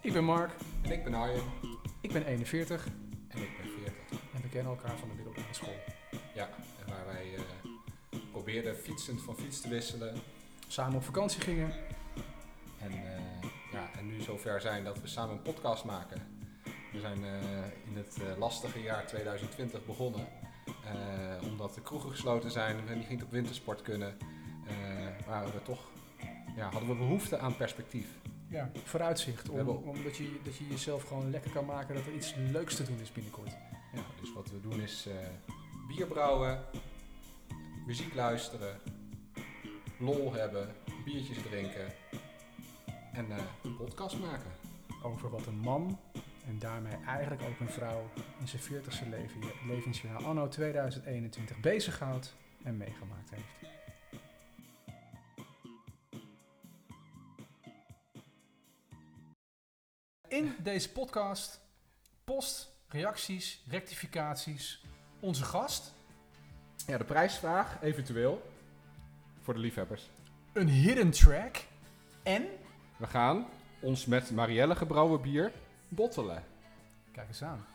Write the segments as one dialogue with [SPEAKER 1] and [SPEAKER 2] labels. [SPEAKER 1] Ik ben Mark,
[SPEAKER 2] En ik ben Arjen.
[SPEAKER 1] ik ben 41
[SPEAKER 2] En ik ben 40.
[SPEAKER 1] en we kennen elkaar van de middelbare school.
[SPEAKER 2] Ja, en waar wij eh, probeerden fietsend van fiets te wisselen.
[SPEAKER 1] Samen op vakantie gingen.
[SPEAKER 2] En, eh, ja, en nu zover zijn dat we samen een podcast maken. We zijn eh, in het eh, lastige jaar 2020 begonnen. Eh, omdat de kroegen gesloten zijn en die niet op wintersport kunnen. eh, waren we toch, ja, hadden we behoefte aan perspectief.
[SPEAKER 1] Ja, vooruitzicht.
[SPEAKER 2] We
[SPEAKER 1] Om,
[SPEAKER 2] hebben-
[SPEAKER 1] omdat je, dat je jezelf gewoon lekker kan maken dat er iets leuks te doen is binnenkort.
[SPEAKER 2] Ja, dus wat we doen is eh, bier brouwen, muziek luisteren, lol hebben, biertjes drinken en eh, een podcast maken.
[SPEAKER 1] Over wat een man en daarmee eigenlijk ook een vrouw in zijn 40ste leven, levensjaar anno 2021 bezighoudt en meegemaakt heeft. In deze podcast post, reacties, rectificaties, onze gast,
[SPEAKER 2] Ja, de prijsvraag eventueel voor de liefhebbers.
[SPEAKER 1] een hidden track en,
[SPEAKER 2] We gaan ons met Marielle gebrouwen bier bottelen.
[SPEAKER 1] kijk eens aan.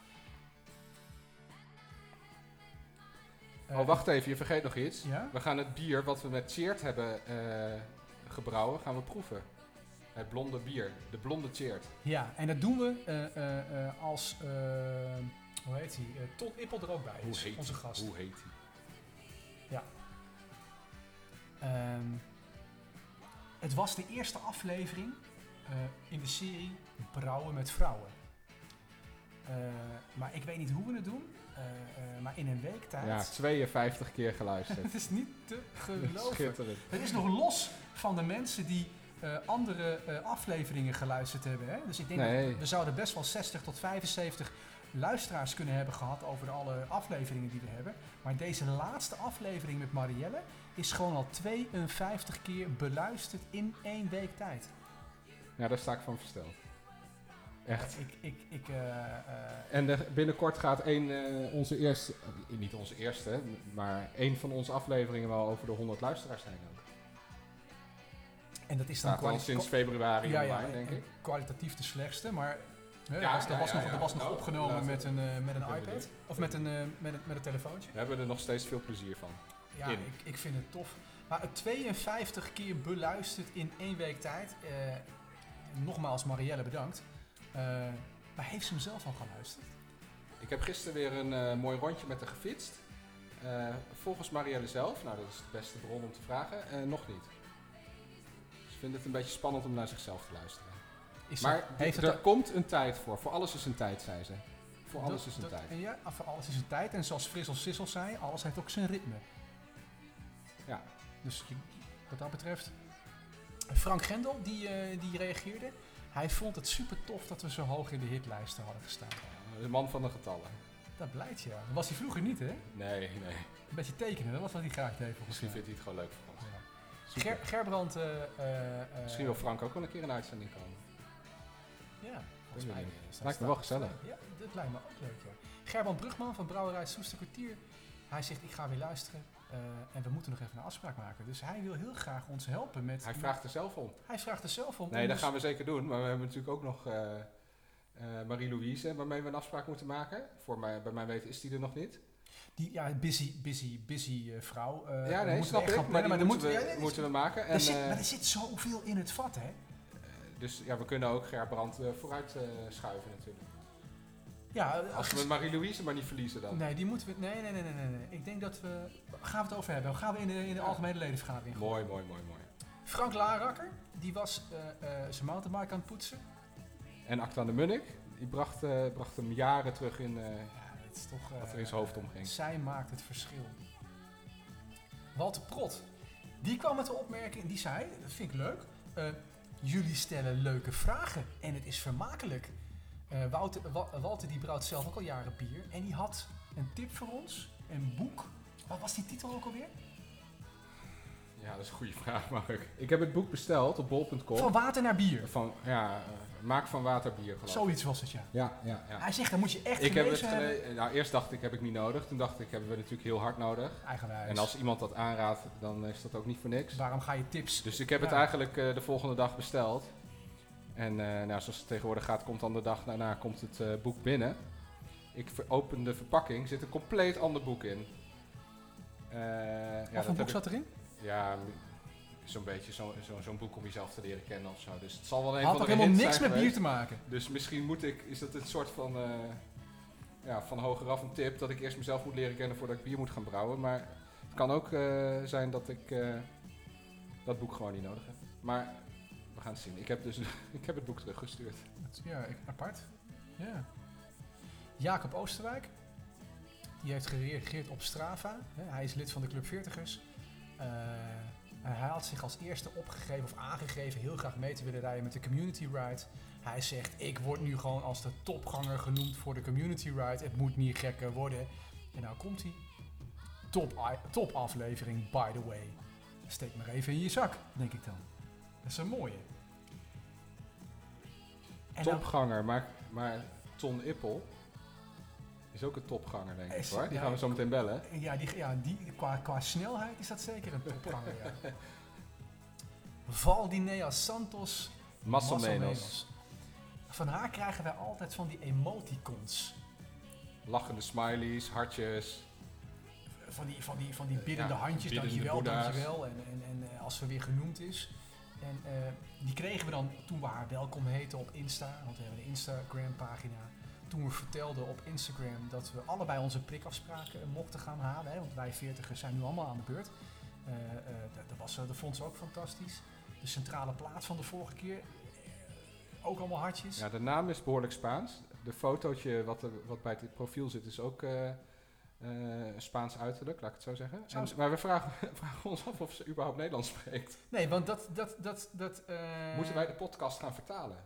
[SPEAKER 2] oh, wacht even, je vergeet nog iets.
[SPEAKER 1] Eh, Ja?
[SPEAKER 2] We gaan het bier wat we met Cheert hebben eh, gebrouwen, gaan we proeven. Het blonde bier, de blonde Cheert.
[SPEAKER 1] Ja, en dat doen we eh, eh, eh, als, eh, hoe heet hij, eh Ton Ippel er ook bij
[SPEAKER 2] Hoe
[SPEAKER 1] is,
[SPEAKER 2] heet
[SPEAKER 1] onze gast.
[SPEAKER 2] Hoe heet die?
[SPEAKER 1] Ehm, het was de eerste aflevering eh, in de serie Brouwen met Vrouwen. Eh, maar ik weet niet hoe we het doen, eh, eh, maar in een week
[SPEAKER 2] Ja,
[SPEAKER 1] tijd.
[SPEAKER 2] 52 keer geluisterd.
[SPEAKER 1] Het is niet te geloven.
[SPEAKER 2] Schitterend.
[SPEAKER 1] Het is nog los van de mensen die eh, andere eh, afleveringen geluisterd hebben. Hè? Dus ik denk
[SPEAKER 2] Nee.
[SPEAKER 1] dat we zouden best wel 60 tot 75 luisteraars kunnen hebben gehad over alle afleveringen die we hebben. Maar deze laatste aflevering met Marielle is gewoon al 52 keer beluisterd in één week tijd.
[SPEAKER 2] Ja, daar sta ik van versteld. Echt.
[SPEAKER 1] Ik, ik, ik, eh, eh,
[SPEAKER 2] En er- binnenkort gaat één eh, onze eerste, eh, niet onze eerste, maar één van onze afleveringen wel over de 100 luisteraars heen. Ook.
[SPEAKER 1] en dat is dan
[SPEAKER 2] Staat al
[SPEAKER 1] kwalitatief.
[SPEAKER 2] sinds februari online, denk
[SPEAKER 1] en
[SPEAKER 2] ik.
[SPEAKER 1] kwalitatief de slechtste, maar hè,
[SPEAKER 2] Ja,
[SPEAKER 1] er was, er
[SPEAKER 2] ja,
[SPEAKER 1] was
[SPEAKER 2] ja,
[SPEAKER 1] nog, er
[SPEAKER 2] ja.
[SPEAKER 1] was nog
[SPEAKER 2] Nou,
[SPEAKER 1] opgenomen
[SPEAKER 2] laten
[SPEAKER 1] met een, eh, met een
[SPEAKER 2] dat kunnen we
[SPEAKER 1] iPad. Of met een, eh, met, een, met een telefoontje.
[SPEAKER 2] We hebben er nog steeds veel plezier van.
[SPEAKER 1] Ja, ik,
[SPEAKER 2] In.
[SPEAKER 1] ik vind het tof. Maar het 52 keer beluisterd in één week tijd. eh, nogmaals, Marielle, bedankt. Eh, maar heeft ze hem zelf al geluisterd?
[SPEAKER 2] Ik heb gisteren weer een eh, mooi rondje met haar gefietst. Eh, volgens Marielle zelf, nou dat is de beste bron om te vragen, eh, nog niet. Ze vindt het een beetje spannend om naar zichzelf te luisteren.
[SPEAKER 1] Is
[SPEAKER 2] Maar
[SPEAKER 1] dat-
[SPEAKER 2] d-
[SPEAKER 1] heeft
[SPEAKER 2] er
[SPEAKER 1] het
[SPEAKER 2] komt een tijd voor. Voor alles is een tijd, zei ze. Voor
[SPEAKER 1] dat-
[SPEAKER 2] alles is een
[SPEAKER 1] dat-
[SPEAKER 2] tijd.
[SPEAKER 1] Ja, voor alles is een tijd. En zoals Frissel Sissel zei, alles heeft ook zijn ritme.
[SPEAKER 2] Ja.
[SPEAKER 1] Dus je- wat dat betreft. Frank Gendel, die, eh, die reageerde. Hij vond het super tof dat we zo hoog in de hitlijsten hadden gestaan.
[SPEAKER 2] De man van de getallen.
[SPEAKER 1] Dat blijkt ja. Dat was hij vroeger niet, hè?
[SPEAKER 2] Nee, nee.
[SPEAKER 1] Een beetje tekenen, dat was wat hij graag deed volgens
[SPEAKER 2] Misschien
[SPEAKER 1] mij.
[SPEAKER 2] vindt hij het gewoon leuk voor ons.
[SPEAKER 1] Ja.
[SPEAKER 2] Super.
[SPEAKER 1] Ger Gerbrand. eh, eh, eh,
[SPEAKER 2] Misschien wil Frank ook wel een keer een uitzending komen.
[SPEAKER 1] Ja, volgens
[SPEAKER 2] weet ik
[SPEAKER 1] mij.
[SPEAKER 2] niet.
[SPEAKER 1] is dat
[SPEAKER 2] Lijkt me wel
[SPEAKER 1] staat-
[SPEAKER 2] gezellig.
[SPEAKER 1] Ja, dat lijkt me ook leuk. Ja. Gerbrand Brugman van Brouwerij Soester Kwartier. Hij zegt: Ik ga weer luisteren eh, en we moeten nog even een afspraak maken. Dus hij wil heel graag ons helpen met.
[SPEAKER 2] Hij vraagt er zelf om.
[SPEAKER 1] Hij vraagt er zelf om.
[SPEAKER 2] Nee,
[SPEAKER 1] om
[SPEAKER 2] dat
[SPEAKER 1] ons-
[SPEAKER 2] gaan we zeker doen. Maar we hebben natuurlijk ook nog eh, eh, Marie-Louise, waarmee we een afspraak moeten maken. Voor mij, bij mijn weten is die er nog niet.
[SPEAKER 1] Die ja, busy, busy, busy eh, vrouw. eh,
[SPEAKER 2] ja,
[SPEAKER 1] we
[SPEAKER 2] nee,
[SPEAKER 1] moeten
[SPEAKER 2] snap
[SPEAKER 1] echt
[SPEAKER 2] ik.
[SPEAKER 1] gaan
[SPEAKER 2] Maar
[SPEAKER 1] plannen,
[SPEAKER 2] die
[SPEAKER 1] dan
[SPEAKER 2] moeten,
[SPEAKER 1] ja,
[SPEAKER 2] we,
[SPEAKER 1] nee, dat is-
[SPEAKER 2] moeten we maken.
[SPEAKER 1] daar
[SPEAKER 2] En,
[SPEAKER 1] zit,
[SPEAKER 2] eh,
[SPEAKER 1] maar er zit zoveel in het vat, hè?
[SPEAKER 2] eh, dus ja, we kunnen ook Gerbrand eh, vooruit eh, schuiven natuurlijk.
[SPEAKER 1] Ja, eh,
[SPEAKER 2] Als we Marie-Louise maar niet verliezen dan.
[SPEAKER 1] Nee, die moeten we. Nee, nee, nee, nee, nee, nee. Ik denk dat we. Gaan we het over hebben? Gaan we in de, in de
[SPEAKER 2] Ja.
[SPEAKER 1] algemene ledenvergadering?
[SPEAKER 2] Mooi, mooi, mooi, mooi.
[SPEAKER 1] Frank Larakker, die was eh, eh, zijn mountainbike aan het poetsen.
[SPEAKER 2] En Acta de Munnik, die bracht, eh, bracht hem jaren terug in... eh,
[SPEAKER 1] Ja, dat is toch... eh,
[SPEAKER 2] Wat er in zijn hoofd omging.
[SPEAKER 1] Zij maakt het verschil. Walter Prot, die kwam met de opmerking, die zei, dat vind ik leuk, eh, jullie stellen leuke vragen en het is vermakelijk. Eh, Wouter, Wa- Walter die brouwt zelf ook al jaren bier en die had een tip voor ons, een boek. Wat was die titel ook alweer?
[SPEAKER 2] ja, dat is een goede vraag, Mark. Ik heb het boek besteld op bol.com.
[SPEAKER 1] Van water naar bier.
[SPEAKER 2] Van, ja, eh, maak van water bier, geloof ik.
[SPEAKER 1] Zoiets was het, ja.
[SPEAKER 2] Ja, ja, ja.
[SPEAKER 1] Hij zegt, dan moet je echt
[SPEAKER 2] Ik heb het
[SPEAKER 1] gelezen hebben.
[SPEAKER 2] gele- nou, eerst dacht ik, heb ik niet nodig. Toen dacht ik, hebben we natuurlijk heel hard nodig.
[SPEAKER 1] Eigenwijs.
[SPEAKER 2] En als iemand dat aanraadt, dan is dat ook niet voor niks.
[SPEAKER 1] Waarom ga je tips...
[SPEAKER 2] Dus ik heb het
[SPEAKER 1] Ja.
[SPEAKER 2] eigenlijk eh, de volgende dag besteld. En eh, nou, zoals het tegenwoordig gaat, komt dan de dag daarna komt het eh, boek binnen. Ik ver- open de verpakking, zit een compleet ander boek in. Eh, ja,
[SPEAKER 1] of
[SPEAKER 2] dat
[SPEAKER 1] een
[SPEAKER 2] heb
[SPEAKER 1] boek
[SPEAKER 2] ik-
[SPEAKER 1] zat erin?
[SPEAKER 2] Ja, zo'n beetje zo- zo- zo'n boek om jezelf te leren kennen of zo. Dus het zal wel een
[SPEAKER 1] Had
[SPEAKER 2] van
[SPEAKER 1] ook
[SPEAKER 2] de
[SPEAKER 1] helemaal
[SPEAKER 2] hints
[SPEAKER 1] niks
[SPEAKER 2] zijn
[SPEAKER 1] met bier
[SPEAKER 2] geweest.
[SPEAKER 1] te maken.
[SPEAKER 2] Dus misschien moet ik, is dat een soort van, eh, ja, van hogeraf een tip, dat ik eerst mezelf moet leren kennen voordat ik bier moet gaan brouwen. Maar het kan ook eh, zijn dat ik eh, dat boek gewoon niet nodig heb. Maar we gaan het zien. Ik heb, dus, ik heb het boek teruggestuurd.
[SPEAKER 1] Dat- Ja, ik- apart. Ja. Jacob Oosterwijk. Die heeft gereageerd op Strava. hè. Hij is lid van de Club 40ers. Eh, hij had zich als eerste opgegeven of aangegeven heel graag mee te willen rijden met de Community Ride. Hij zegt, ik word nu gewoon als de topganger genoemd voor de Community Ride. Het moet niet gekker worden. En nou komt hij. Top, i- top aflevering, by the way. Steek maar even in je zak, denk ik dan. Dat is een mooie. En dan-
[SPEAKER 2] topganger, maar, maar Ton Ippel is ook een topganger, denk ik
[SPEAKER 1] Is-
[SPEAKER 2] hoor. Die
[SPEAKER 1] ja,
[SPEAKER 2] gaan we zo meteen bellen.
[SPEAKER 1] Ja, die, ja die, qua, qua snelheid is dat zeker een topganger, ja. Valdineas Santos.
[SPEAKER 2] Masselmenos.
[SPEAKER 1] Masselmenos. Van haar krijgen wij altijd van die emoticons.
[SPEAKER 2] Lachende smileys, hartjes.
[SPEAKER 1] Van die, van die, van die biddende
[SPEAKER 2] Ja,
[SPEAKER 1] handjes,
[SPEAKER 2] biddende
[SPEAKER 1] dankjewel,
[SPEAKER 2] boeddha's.
[SPEAKER 1] dankjewel. En, en, en eh, als ze weer genoemd is. En eh, die kregen we dan toen we haar welkom heten op Insta. Want we hebben een Instagram pagina. Toen we vertelden op Instagram dat we allebei onze prikafspraken eh, mochten gaan halen. Hè, want wij veertigers zijn nu allemaal aan de beurt. Eh, eh, dat, dat was, eh, dat vond ze ook fantastisch. De centrale plaat van de vorige keer. eh, ook allemaal hartjes.
[SPEAKER 2] Ja, de naam is behoorlijk Spaans. De fotootje wat, er, wat bij het profiel zit is ook eh, eh, Spaans uiterlijk, laat ik het zo zeggen.
[SPEAKER 1] Zou
[SPEAKER 2] En-
[SPEAKER 1] ze-
[SPEAKER 2] maar we vragen, we vragen ons af of ze überhaupt Nederlands spreekt.
[SPEAKER 1] Nee, want dat... dat, dat, dat eh,
[SPEAKER 2] Moeten wij de podcast gaan vertalen?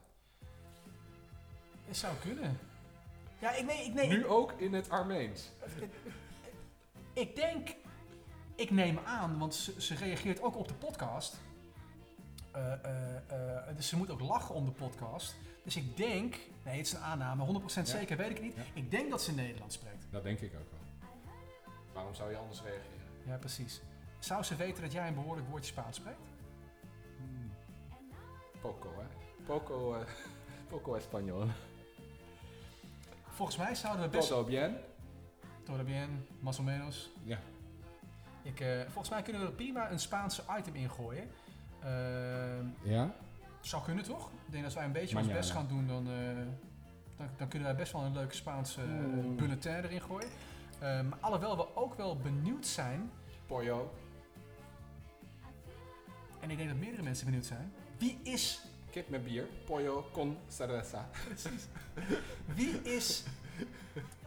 [SPEAKER 1] Het zou kunnen. Ja, ik, nee, ik, nee,
[SPEAKER 2] Nu ook in het Armeens.
[SPEAKER 1] Ik denk, ik neem aan, want ze, ze reageert ook op de podcast. Eh, eh, eh, dus ze moet ook lachen om de podcast. Dus ik denk, nee, het is een aanname, 100%
[SPEAKER 2] Ja.
[SPEAKER 1] zeker weet ik het niet.
[SPEAKER 2] Ja.
[SPEAKER 1] Ik denk dat ze Nederlands spreekt.
[SPEAKER 2] Dat denk ik ook wel. Waarom zou je anders reageren?
[SPEAKER 1] Ja, precies. Zou ze weten dat jij een behoorlijk woordje Spaans spreekt?
[SPEAKER 2] Poco, hè? Poco, eh, poco español.
[SPEAKER 1] Volgens mij zouden we best.
[SPEAKER 2] Todo bien?
[SPEAKER 1] Todo bien, más o menos.
[SPEAKER 2] Ja.
[SPEAKER 1] Ik, eh, volgens mij kunnen we er prima een Spaanse item ingooien. Ehm
[SPEAKER 2] Ja?
[SPEAKER 1] Zou kunnen toch? Ik denk dat wij een beetje ons
[SPEAKER 2] Mañana.
[SPEAKER 1] best gaan doen, dan, eh, dan, dan kunnen wij best wel een leuke Spaanse eh,
[SPEAKER 2] Oeh.
[SPEAKER 1] bulletin erin gooien. Eh, maar alhoewel we ook wel benieuwd zijn,
[SPEAKER 2] Pollo.
[SPEAKER 1] en ik denk dat meerdere mensen benieuwd zijn, wie is,
[SPEAKER 2] Kip met bier. Pollo con cerveza.
[SPEAKER 1] wie is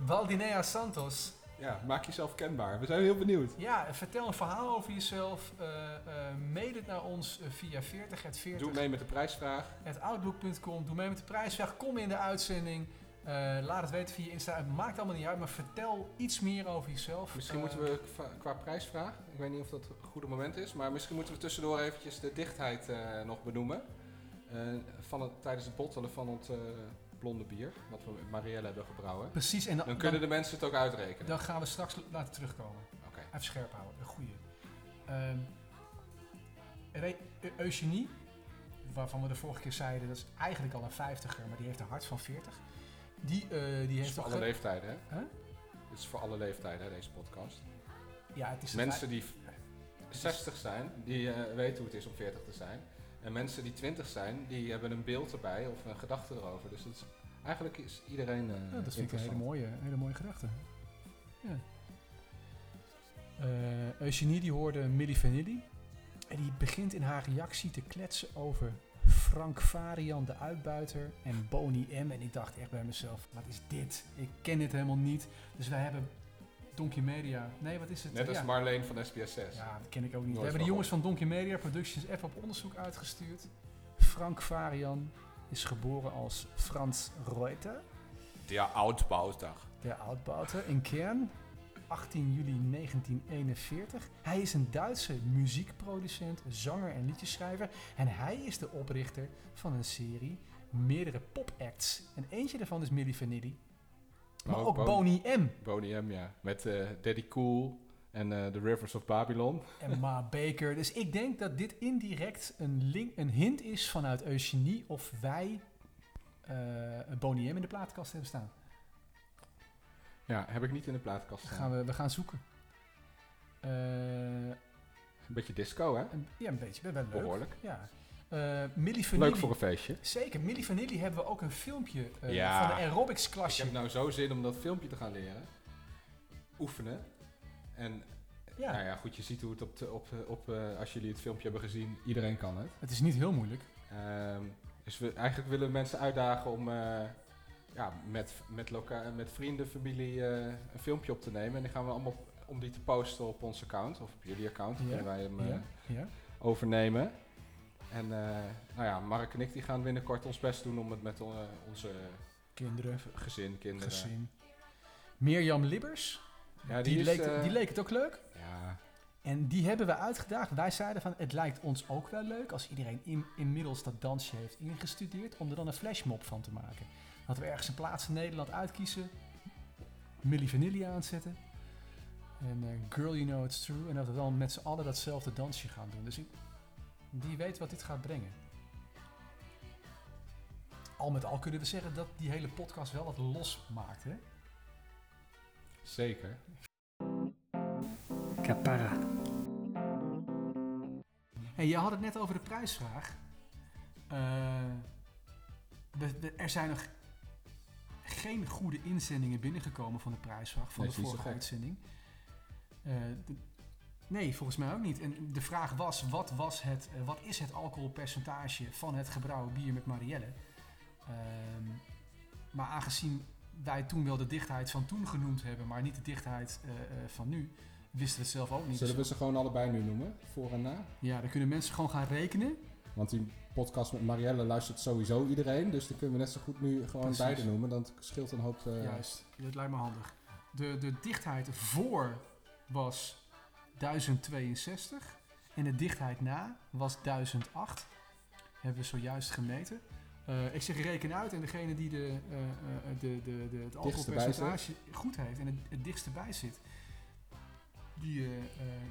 [SPEAKER 1] Valdinea Santos?
[SPEAKER 2] Ja, maak jezelf kenbaar. We zijn heel benieuwd.
[SPEAKER 1] Ja, vertel een verhaal over jezelf, eh eh mail het naar ons eh, via 40 het 40
[SPEAKER 2] Doe mee met de prijsvraag.
[SPEAKER 1] Het outlook.com. Doe mee met de prijsvraag. Kom in de uitzending. Eh, laat het weten via Insta. Het maakt allemaal niet uit, maar vertel iets meer over jezelf.
[SPEAKER 2] Misschien
[SPEAKER 1] Eh,
[SPEAKER 2] moeten we qua- qua prijsvraag, ik weet niet of dat een goede moment is, maar misschien moeten we tussendoor eventjes de dichtheid eh, nog benoemen. Eh, van het, tijdens het bottelen van het eh, blonde bier, wat we met Marielle hebben gebrouwen.
[SPEAKER 1] Precies, en dan,
[SPEAKER 2] Dan kunnen
[SPEAKER 1] dan,
[SPEAKER 2] de mensen het ook uitrekenen.
[SPEAKER 1] dan gaan we straks laten terugkomen.
[SPEAKER 2] Oké.
[SPEAKER 1] Even scherp houden, een goeie. Ehm, Re- Eu- Eugenie, waarvan we de vorige keer zeiden, dat is eigenlijk al een 50er, maar die heeft een hart van 40. Die, eh, die
[SPEAKER 2] Het is
[SPEAKER 1] heeft
[SPEAKER 2] voor
[SPEAKER 1] toch
[SPEAKER 2] alle
[SPEAKER 1] ge-
[SPEAKER 2] leeftijden, hè?
[SPEAKER 1] Huh?
[SPEAKER 2] Het is voor alle leeftijden, hè, deze podcast.
[SPEAKER 1] ja, het is de
[SPEAKER 2] Mensen die v- 60 zijn, die eh, weten hoe het is om 40 te zijn. En mensen die 20 zijn, die hebben een beeld erbij of een gedachte erover. Dus dat is, eigenlijk is iedereen eh,
[SPEAKER 1] Ja, dat vind ik een hele
[SPEAKER 2] interessant.
[SPEAKER 1] mooie, een hele mooie gedachte. Ja. Eh, Eugenie die hoorde Milli Vanilli. En die begint in haar reactie te kletsen over Frank Varian de uitbuiter en Boni M. En ik dacht echt bij mezelf, wat is dit? Ik ken dit helemaal niet. Dus wij hebben Donkey Media. Nee, wat is het?
[SPEAKER 2] Net als
[SPEAKER 1] ja.
[SPEAKER 2] Marleen van SBS6.
[SPEAKER 1] Ja, dat ken ik ook niet. We
[SPEAKER 2] Nooit
[SPEAKER 1] hebben de
[SPEAKER 2] van
[SPEAKER 1] jongens van Donkey Media Productions even op onderzoek uitgestuurd. Frank Varian is geboren als Frans Reuter.
[SPEAKER 2] Der Oudbouwdag.
[SPEAKER 1] Der Altbauter in Kern, 18 juli 1941. Hij is een Duitse muziekproducent, zanger en liedjeschrijver. En hij is de oprichter van een serie meerdere popacts. En eentje daarvan is Milli Vanilli, maar, ook Boney M.
[SPEAKER 2] Boney M, ja. Met eh, Daddy Cool, En eh, The Rivers of Babylon.
[SPEAKER 1] En Ma Baker. Dus ik denk dat dit indirect een, link, een hint is vanuit Eugenie of wij eh, een Bonnie M in de plaatkast hebben staan.
[SPEAKER 2] Ja, heb ik niet in de plaatkast staan.
[SPEAKER 1] Gaan we, we gaan zoeken. Eh,
[SPEAKER 2] Een beetje disco, hè?
[SPEAKER 1] een- ja, een beetje. Wel- Wel leuk.
[SPEAKER 2] Behoorlijk.
[SPEAKER 1] Ja. Eh, Millie
[SPEAKER 2] Leuk
[SPEAKER 1] Vanilli.
[SPEAKER 2] voor een feestje.
[SPEAKER 1] Zeker. Millie Vanilli hebben we ook een filmpje eh,
[SPEAKER 2] Ja.
[SPEAKER 1] van de aerobics
[SPEAKER 2] Ik
[SPEAKER 1] klasje.
[SPEAKER 2] heb nou zo zin om dat filmpje te gaan leren. Oefenen. En
[SPEAKER 1] Ja.
[SPEAKER 2] nou ja, goed, je ziet hoe het op, de- op, eh, op eh, als jullie het filmpje hebben gezien, iedereen kan het.
[SPEAKER 1] Het is niet heel moeilijk.
[SPEAKER 2] Ehm, dus we, eigenlijk willen we mensen uitdagen om eh, ja, met, met, loka- met vrienden, familie eh, een filmpje op te nemen. En die gaan we allemaal om die te posten op ons account of op jullie account. Dan
[SPEAKER 1] Ja,
[SPEAKER 2] kunnen wij hem eh,
[SPEAKER 1] Ja. Ja.
[SPEAKER 2] overnemen. En eh, nou ja, Mark en ik die gaan binnenkort ons best doen om het met eh, onze
[SPEAKER 1] Kinderen,
[SPEAKER 2] gezin, kinderen.
[SPEAKER 1] gezin. Mirjam Libbers.
[SPEAKER 2] Ja,
[SPEAKER 1] Die,
[SPEAKER 2] is,
[SPEAKER 1] leek,
[SPEAKER 2] eh,
[SPEAKER 1] die leek het ook leuk.
[SPEAKER 2] Ja,
[SPEAKER 1] En die hebben we uitgedaagd. Wij zeiden van, het lijkt ons ook wel leuk als iedereen in- inmiddels dat dansje heeft ingestudeerd, om er dan een flashmob van te maken. Dat we ergens een plaats in Nederland uitkiezen, Milli Vanilli aanzetten en eh, Girl You Know It's True. En dat we dan met z'n allen datzelfde dansje gaan doen. Dus ik, die weet wat dit gaat brengen. Al met al kunnen we zeggen dat die hele podcast wel wat los maakt, hè?
[SPEAKER 2] zeker.
[SPEAKER 3] Capara.
[SPEAKER 1] Hey, je had het net over de prijsvraag. Eh, de- de- er zijn nog geen goede inzendingen binnengekomen van de prijsvraag van
[SPEAKER 2] Nee,
[SPEAKER 1] de
[SPEAKER 2] is niet zo
[SPEAKER 1] vorige
[SPEAKER 2] gek.
[SPEAKER 1] uitzending. Eh, de- nee, volgens mij ook niet. En de vraag was: wat, was het, eh, wat is het alcoholpercentage van het gebrouwen bier met Marielle? Ehm, maar aangezien wij toen wel de dichtheid van toen genoemd hebben, maar niet de dichtheid eh, eh, van nu, wisten we het zelf ook niet.
[SPEAKER 2] Zullen we ze gewoon allebei nu noemen? Voor en na?
[SPEAKER 1] Ja, dan kunnen mensen gewoon gaan rekenen.
[SPEAKER 2] Want die podcast met Marielle luistert sowieso iedereen. Dus dan kunnen we net zo goed nu gewoon
[SPEAKER 1] Precies.
[SPEAKER 2] beide noemen. Dan scheelt een hoop. eh,
[SPEAKER 1] Juist, dat lijkt me handig. De, de dichtheid voor was 1062 en de dichtheid na was 1008. Hebben we zojuist gemeten. Eh, ik zeg reken uit en degene die de, eh, eh, de, de, de, het alcoholpercentage goed heeft en het, het dichtst bij zit, die, eh, eh,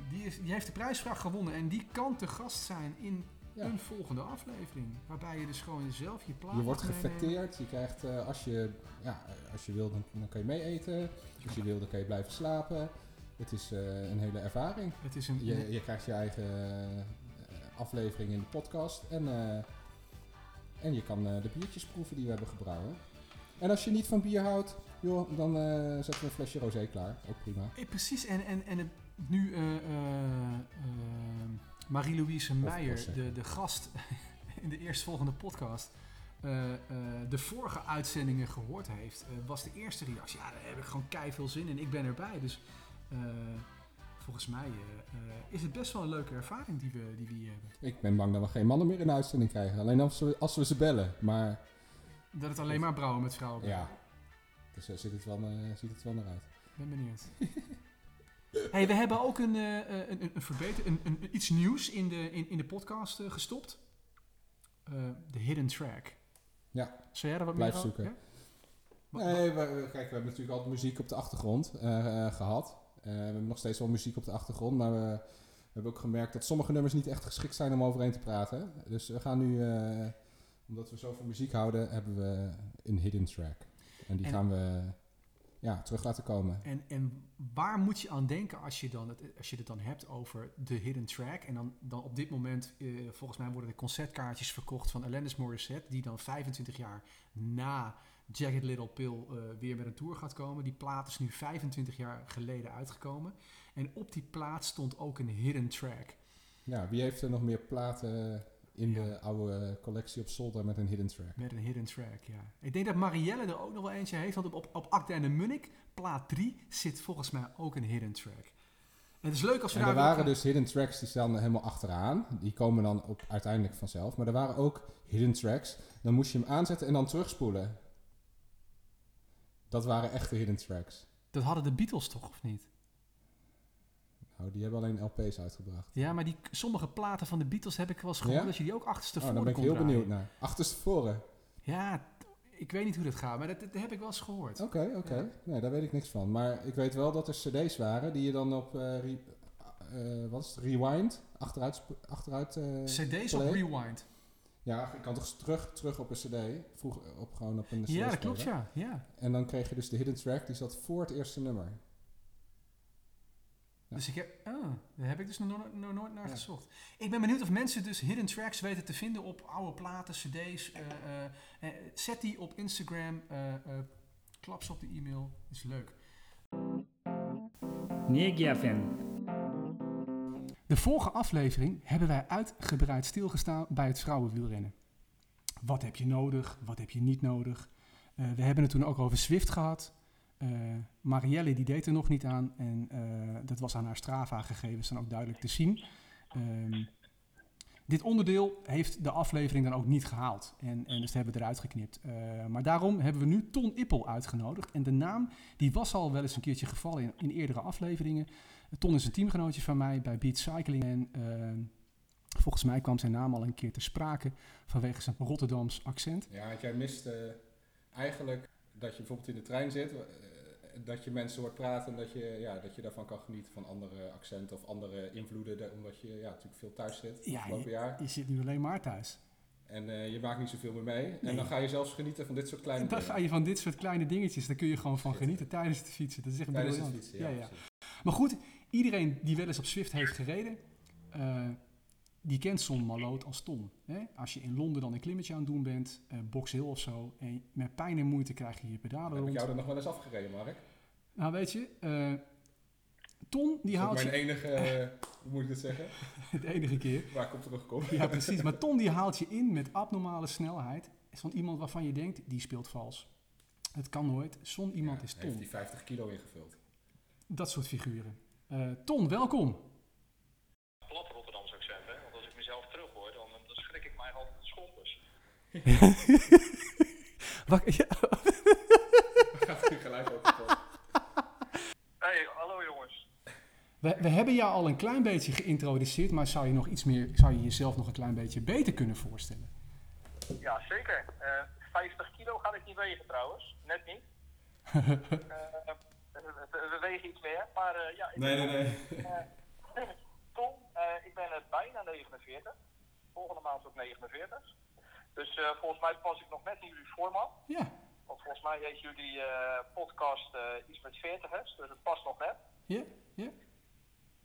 [SPEAKER 1] die, is, die heeft de prijsvraag gewonnen en die kan te gast zijn in
[SPEAKER 2] Ja.
[SPEAKER 1] een volgende aflevering. Waarbij je dus gewoon zelf je plaat
[SPEAKER 2] Je wordt
[SPEAKER 1] mag meenemen.
[SPEAKER 2] gefecteerd. Je krijgt, eh, als, je, ja, eh, als je wil, dan, dan kan je mee eten. Als je wil, dan kan je blijven slapen. Het is eh, een hele ervaring.
[SPEAKER 1] Het is een,
[SPEAKER 2] Je, je krijgt je eigen eh, aflevering in de podcast. En, eh, en je kan eh, de biertjes proeven die we hebben gebrouwen. En als je niet van bier houdt, joh, dan eh, zetten we een flesje rosé klaar. Ook prima.
[SPEAKER 1] Eh, precies, en, en, en het- nu eh, eh, eh, Marie-Louise Meijer,
[SPEAKER 2] Prosecco.
[SPEAKER 1] de, de gast in de eerstvolgende podcast, eh, eh, de vorige uitzendingen gehoord heeft, eh, was de eerste reactie. Ja, daar heb ik gewoon kei veel zin in. Ik ben erbij. Dus eh, volgens mij eh, eh, is het best wel een leuke ervaring die we, die we hier hebben.
[SPEAKER 2] Ik ben bang dat we geen mannen meer in de uitzending krijgen. Alleen als we, als we ze bellen. Maar
[SPEAKER 1] Dat het alleen maar brouwen met vrouwen blijft.
[SPEAKER 2] ja, dus eh, ziet, het wel, eh, ziet het wel naar uit.
[SPEAKER 1] ben benieuwd. hey, we hebben ook een, eh, eh, een, een, een verbeter, een, een, een- iets nieuws in de, in, in de podcast eh, gestopt. Eh, de hidden track.
[SPEAKER 2] Ja.
[SPEAKER 1] Zou jij daar wat
[SPEAKER 2] Blijf
[SPEAKER 1] meer over-
[SPEAKER 2] zoeken.
[SPEAKER 1] ja? Wa- wa-
[SPEAKER 2] Nee, we, we- kijk, we hebben natuurlijk altijd muziek op de achtergrond eh, eh, gehad. Eh, we hebben nog steeds wel muziek op de achtergrond. Maar we, we hebben ook gemerkt dat sommige nummers niet echt geschikt zijn om overheen te praten. Dus we gaan nu, eh, omdat we zoveel muziek houden, hebben we een hidden track. En die
[SPEAKER 1] En-
[SPEAKER 2] gaan we ja, terug laten komen.
[SPEAKER 1] En, en waar moet je aan denken als je, dan het, als je het dan hebt over de hidden track? En dan, dan op dit moment, eh, volgens mij worden er concertkaartjes verkocht van Alanis Morissette, die dan 25 jaar na Jagged Little Pill eh, weer met een tour gaat komen. Die plaat is nu 25 jaar geleden uitgekomen. En op die plaat stond ook een hidden track.
[SPEAKER 2] Ja, wie heeft er nog meer platen in
[SPEAKER 1] Ja.
[SPEAKER 2] de oude collectie op zolder met een hidden track?
[SPEAKER 1] Met een hidden track, ja. Ik denk dat Marielle er ook nog wel eentje heeft, want op, op, op Acta en de Munnik, plaat 3, zit volgens mij ook een hidden track. En het is leuk als we
[SPEAKER 2] En
[SPEAKER 1] daar
[SPEAKER 2] er
[SPEAKER 1] weer op
[SPEAKER 2] waren
[SPEAKER 1] gaan-
[SPEAKER 2] dus hidden tracks die staan er helemaal achteraan. Die komen dan op, uiteindelijk vanzelf. Maar er waren ook hidden tracks. Dan moest je hem aanzetten en dan terugspoelen. Dat waren echte hidden tracks.
[SPEAKER 1] Dat hadden de Beatles toch, of niet?
[SPEAKER 2] Nou, die hebben alleen LP's uitgebracht.
[SPEAKER 1] Ja, maar die, sommige platen van de Beatles heb ik wel eens gehoord
[SPEAKER 2] Ja?
[SPEAKER 1] dat je die ook
[SPEAKER 2] Oh,
[SPEAKER 1] achterstevoren
[SPEAKER 2] daar ben ik
[SPEAKER 1] kon
[SPEAKER 2] heel
[SPEAKER 1] draaien.
[SPEAKER 2] benieuwd naar. Oh, Achterstevoren.
[SPEAKER 1] Ja, t- Ik weet niet hoe dat gaat, maar dat, dat heb ik wel eens gehoord.
[SPEAKER 3] Oké, oké.
[SPEAKER 1] Ja.
[SPEAKER 3] Nee, daar weet ik niks van. Maar ik weet wel dat er cd's waren die je dan op eh, re- eh, wat is het? rewind, achteruit... sp- achteruit eh,
[SPEAKER 1] CD's op
[SPEAKER 3] play.
[SPEAKER 1] Rewind.
[SPEAKER 3] Ja, je kan toch terug, terug op een cd, vroeger op, gewoon op een cd
[SPEAKER 1] Ja, dat klopt, ja. ja.
[SPEAKER 3] En dan kreeg je dus de hidden track, die zat voor het eerste nummer. Ja.
[SPEAKER 1] Dus ik heb, ah, daar heb ik dus nog nooit, nog nooit naar
[SPEAKER 3] Ja.
[SPEAKER 1] gezocht. Ik ben benieuwd of mensen dus hidden tracks weten te vinden op oude platen, cd's. eh, eh, eh, zet die op Instagram, eh, eh, klap ze op de e-mail. Is leuk.
[SPEAKER 4] Negiafen,
[SPEAKER 1] De vorige aflevering hebben wij uitgebreid stilgestaan bij het vrouwenwielrennen. Wat heb je nodig? Wat heb je niet nodig? Eh, we hebben het toen ook over Zwift gehad. Eh, Marielle die deed er nog niet aan en eh, dat was aan haar Strava-gegevens dan ook duidelijk te zien. Ehm, dit onderdeel heeft de aflevering dan ook niet gehaald en, en dus hebben we eruit geknipt. Eh, maar daarom hebben we nu Ton Ippel uitgenodigd en de naam die was al wel eens een keertje gevallen in, in eerdere afleveringen. Ton is een teamgenootje van mij bij Beat Cycling. En eh, volgens mij kwam zijn naam al een keer te sprake vanwege zijn Rotterdams accent.
[SPEAKER 2] Ja, want jij mist eh, eigenlijk dat je bijvoorbeeld in de trein zit, eh, dat je mensen hoort praten en dat je, ja, dat je daarvan kan genieten van andere accenten of andere invloeden, daar- omdat je ja, natuurlijk veel thuis zit
[SPEAKER 1] Ja,
[SPEAKER 2] afgelopen jaar.
[SPEAKER 1] Je zit nu alleen maar thuis.
[SPEAKER 2] En eh, je maakt niet zoveel meer mee.
[SPEAKER 1] Nee.
[SPEAKER 2] En dan ga je zelfs genieten van dit soort kleine
[SPEAKER 1] En dan ga
[SPEAKER 2] dingen.
[SPEAKER 1] je van dit soort kleine dingetjes, daar kun je gewoon van genieten tijdens het fietsen. Dat is echt
[SPEAKER 2] Tijdens het
[SPEAKER 1] briljant.
[SPEAKER 2] fietsen, ja.
[SPEAKER 1] Ja, ja.
[SPEAKER 2] precies.
[SPEAKER 3] Ah,
[SPEAKER 1] Maar goed, iedereen die wel eens op Swift heeft gereden, eh, die kent Son Maloot als Ton. Hè? Als je in Londen dan een klimmetje aan het doen bent, eh Box Hill of zo, en met pijn en moeite krijg je je pedalen
[SPEAKER 2] Heb ik
[SPEAKER 1] rond.
[SPEAKER 2] jou er nog wel eens afgereden, Mark?
[SPEAKER 1] Nou weet je, eh, Ton die
[SPEAKER 2] Dat is ook
[SPEAKER 1] haalt
[SPEAKER 2] mijn e-
[SPEAKER 1] je...
[SPEAKER 2] enige, eh, hoe moet ik dit zeggen,
[SPEAKER 1] De enige keer.
[SPEAKER 2] waar ik op terugkom.
[SPEAKER 1] Ja, precies. Maar Ton die haalt je in met abnormale snelheid van iemand waarvan je denkt, die speelt vals. Het kan nooit. Zon iemand
[SPEAKER 2] Ja,
[SPEAKER 1] is
[SPEAKER 2] Heeft
[SPEAKER 1] Ton.
[SPEAKER 2] die 50 kilo ingevuld.
[SPEAKER 1] Dat soort figuren. Eh, ton, welkom.
[SPEAKER 5] plat Rotterdams accent, hè? Want als ik mezelf terughoor, dan, dan schrik ik mij altijd schompers.
[SPEAKER 2] Gaat u gelijk op de pot.
[SPEAKER 5] Hey, hallo jongens.
[SPEAKER 1] We, we hebben jou al een klein beetje geïntroduceerd, maar zou je, nog iets meer, zou je jezelf nog een klein beetje beter kunnen voorstellen?
[SPEAKER 5] Ja, zeker. Eh, 50 kilo ga ik niet wegen trouwens. Net niet. Eh, we, we wegen iets meer. Maar eh, ja, ik
[SPEAKER 2] Nee, nee, nee.
[SPEAKER 5] Tom, eh, ik ben eh, bijna 49. Volgende maand ook 49. Dus eh, volgens mij pas ik nog net in jullie format.
[SPEAKER 1] Ja.
[SPEAKER 5] Want volgens mij heet jullie eh, podcast eh, iets met 40ers. Dus het past nog net.
[SPEAKER 1] Ja? Ja?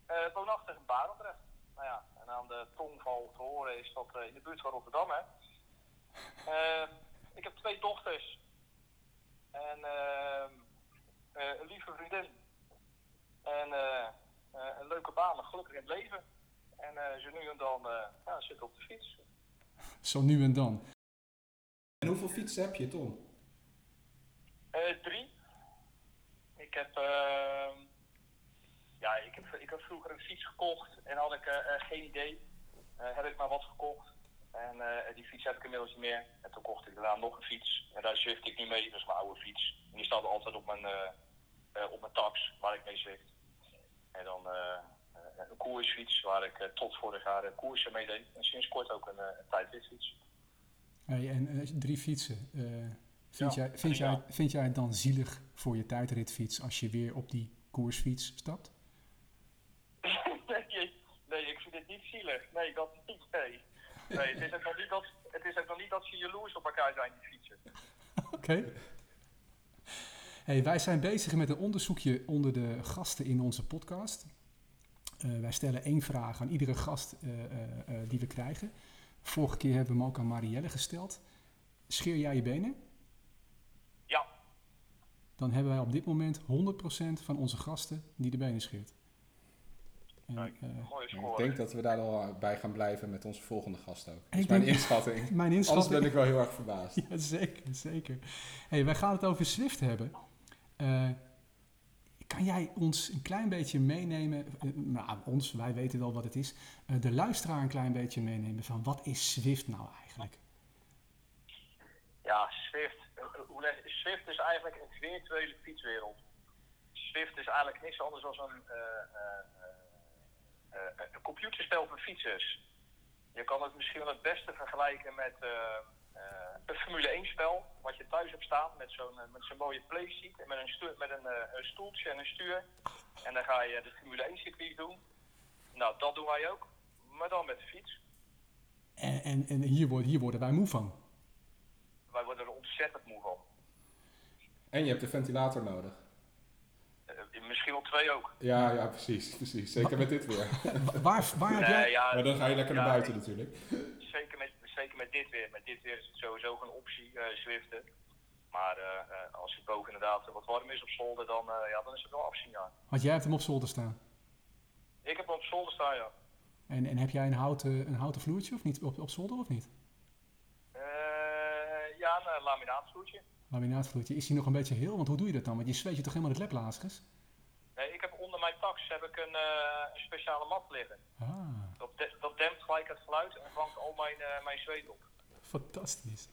[SPEAKER 5] Eh, woonachtig in Barendrecht. Nou ja, en aan de tongval te horen is dat eh, in de buurt van Rotterdam, hè. Eh, ik heb twee dochters. En ehm, eh, een lieve vriendin. En eh, eh, een leuke baan, een gelukkig in het leven. En eh, ze nu en dan eh ja, zitten op de fiets.
[SPEAKER 1] Zo nu en dan.
[SPEAKER 2] En hoeveel fietsen heb je, Tom?
[SPEAKER 5] Eh, drie. Ik heb, ehm, ja, ik heb, ik heb vroeger een fiets gekocht en had ik eh, eh, geen idee. Eh, heb ik maar wat gekocht. En eh, die fiets heb ik inmiddels niet meer. En toen kocht ik daarna nog een fiets. En daar zwift ik nu mee, dat is mijn oude fiets. En die staat altijd op mijn, eh, eh, op mijn tax, waar ik mee zwift. En dan eh, eh, een koersfiets, waar ik eh, tot vorig jaar eh, koersen mee deed. En sinds kort ook een, eh, een tijdritfiets.
[SPEAKER 1] Hey, en eh, drie fietsen. Eh, vind,
[SPEAKER 5] Ja,
[SPEAKER 1] jij, vind,
[SPEAKER 5] ja.
[SPEAKER 1] jij, vind jij het dan zielig voor je tijdritfiets als je weer op die koersfiets stapt?
[SPEAKER 5] nee, nee, ik vind het niet zielig. Nee, dat niet. Nee. Nee, het is ook nog niet dat, het is ook nog niet dat ze jaloers op elkaar zijn, die fietsen.
[SPEAKER 1] Oké. Hey, wij zijn bezig met een onderzoekje onder de gasten in onze podcast. Eh, wij stellen één vraag aan iedere gast eh, eh, eh, die we krijgen. Vorige keer hebben we hem ook aan Marielle gesteld. Scheer jij je benen?
[SPEAKER 5] Ja.
[SPEAKER 1] Dan hebben wij op dit moment 100% van onze gasten die de benen scheert. En,
[SPEAKER 5] Kijk.
[SPEAKER 1] eh,
[SPEAKER 5] Mooie
[SPEAKER 2] Ik
[SPEAKER 5] score.
[SPEAKER 2] denk dat we daar al bij gaan blijven met onze volgende gast ook. Dat is
[SPEAKER 1] Ik
[SPEAKER 2] mijn
[SPEAKER 1] denk-
[SPEAKER 2] inschatting.
[SPEAKER 1] mijn
[SPEAKER 2] Anders
[SPEAKER 1] inschatting...
[SPEAKER 2] ben ik wel heel erg verbaasd.
[SPEAKER 1] Ja, zeker, zeker. Hey, wij gaan het over Swift hebben. Eh, kan jij ons een klein beetje meenemen, eh, nou, ons, wij weten wel wat het is, eh, de luisteraar een klein beetje meenemen van wat is Swift nou eigenlijk?
[SPEAKER 5] Ja, Swift. Eh, hoe leg- Swift is eigenlijk een virtuele fietswereld. Swift is eigenlijk niks anders dan een, eh, eh, eh, eh, een computerspel voor fietsers. Je kan het misschien wel het beste vergelijken met eh, eh, een Formule 1 spel. wat je thuis hebt staan met zo'n eh, met zo'n mooie playseat en met, een, stu- met een, eh, een stoeltje en een stuur. En dan ga je de Formule 1 circuit doen. Nou, dat doen wij ook, maar dan met de fiets.
[SPEAKER 1] En, en, en hier, worden, hier worden wij moe van.
[SPEAKER 5] Wij worden er ontzettend moe van.
[SPEAKER 2] En je hebt de ventilator nodig.
[SPEAKER 5] Eh, misschien wel twee ook.
[SPEAKER 2] Ja, ja, precies, precies. Zeker met dit weer.
[SPEAKER 1] Wa- Waar, waar heb jij...
[SPEAKER 5] Nee, ja,
[SPEAKER 2] Maar dan ga je lekker naar
[SPEAKER 5] ja,
[SPEAKER 2] buiten natuurlijk.
[SPEAKER 5] Zeker met, zeker met dit weer. Met dit weer is het sowieso geen optie, eh Zwiften. Maar eh, eh, als het boven inderdaad wat warm is op zolder, dan, eh, ja, dan is het wel afzien, ja.
[SPEAKER 1] Want jij hebt hem op zolder staan.
[SPEAKER 5] Ik heb hem op zolder staan, ja.
[SPEAKER 1] En, en heb jij een houten, een houten vloertje of niet? Op, op zolder of niet?
[SPEAKER 5] Eh, ja, een eh, laminaatvloertje.
[SPEAKER 1] Laminaatvloertje. Is hij nog een beetje heel? Want hoe doe je dat dan? Want je zweet je toch helemaal het leplazers?
[SPEAKER 5] Nee, ik heb onder mijn tax heb ik een, eh, een speciale mat liggen.
[SPEAKER 1] Ah,
[SPEAKER 5] Dat, de- dat dempt gelijk het geluid en vangt al mijn, eh, mijn zweet op.
[SPEAKER 1] fantastisch.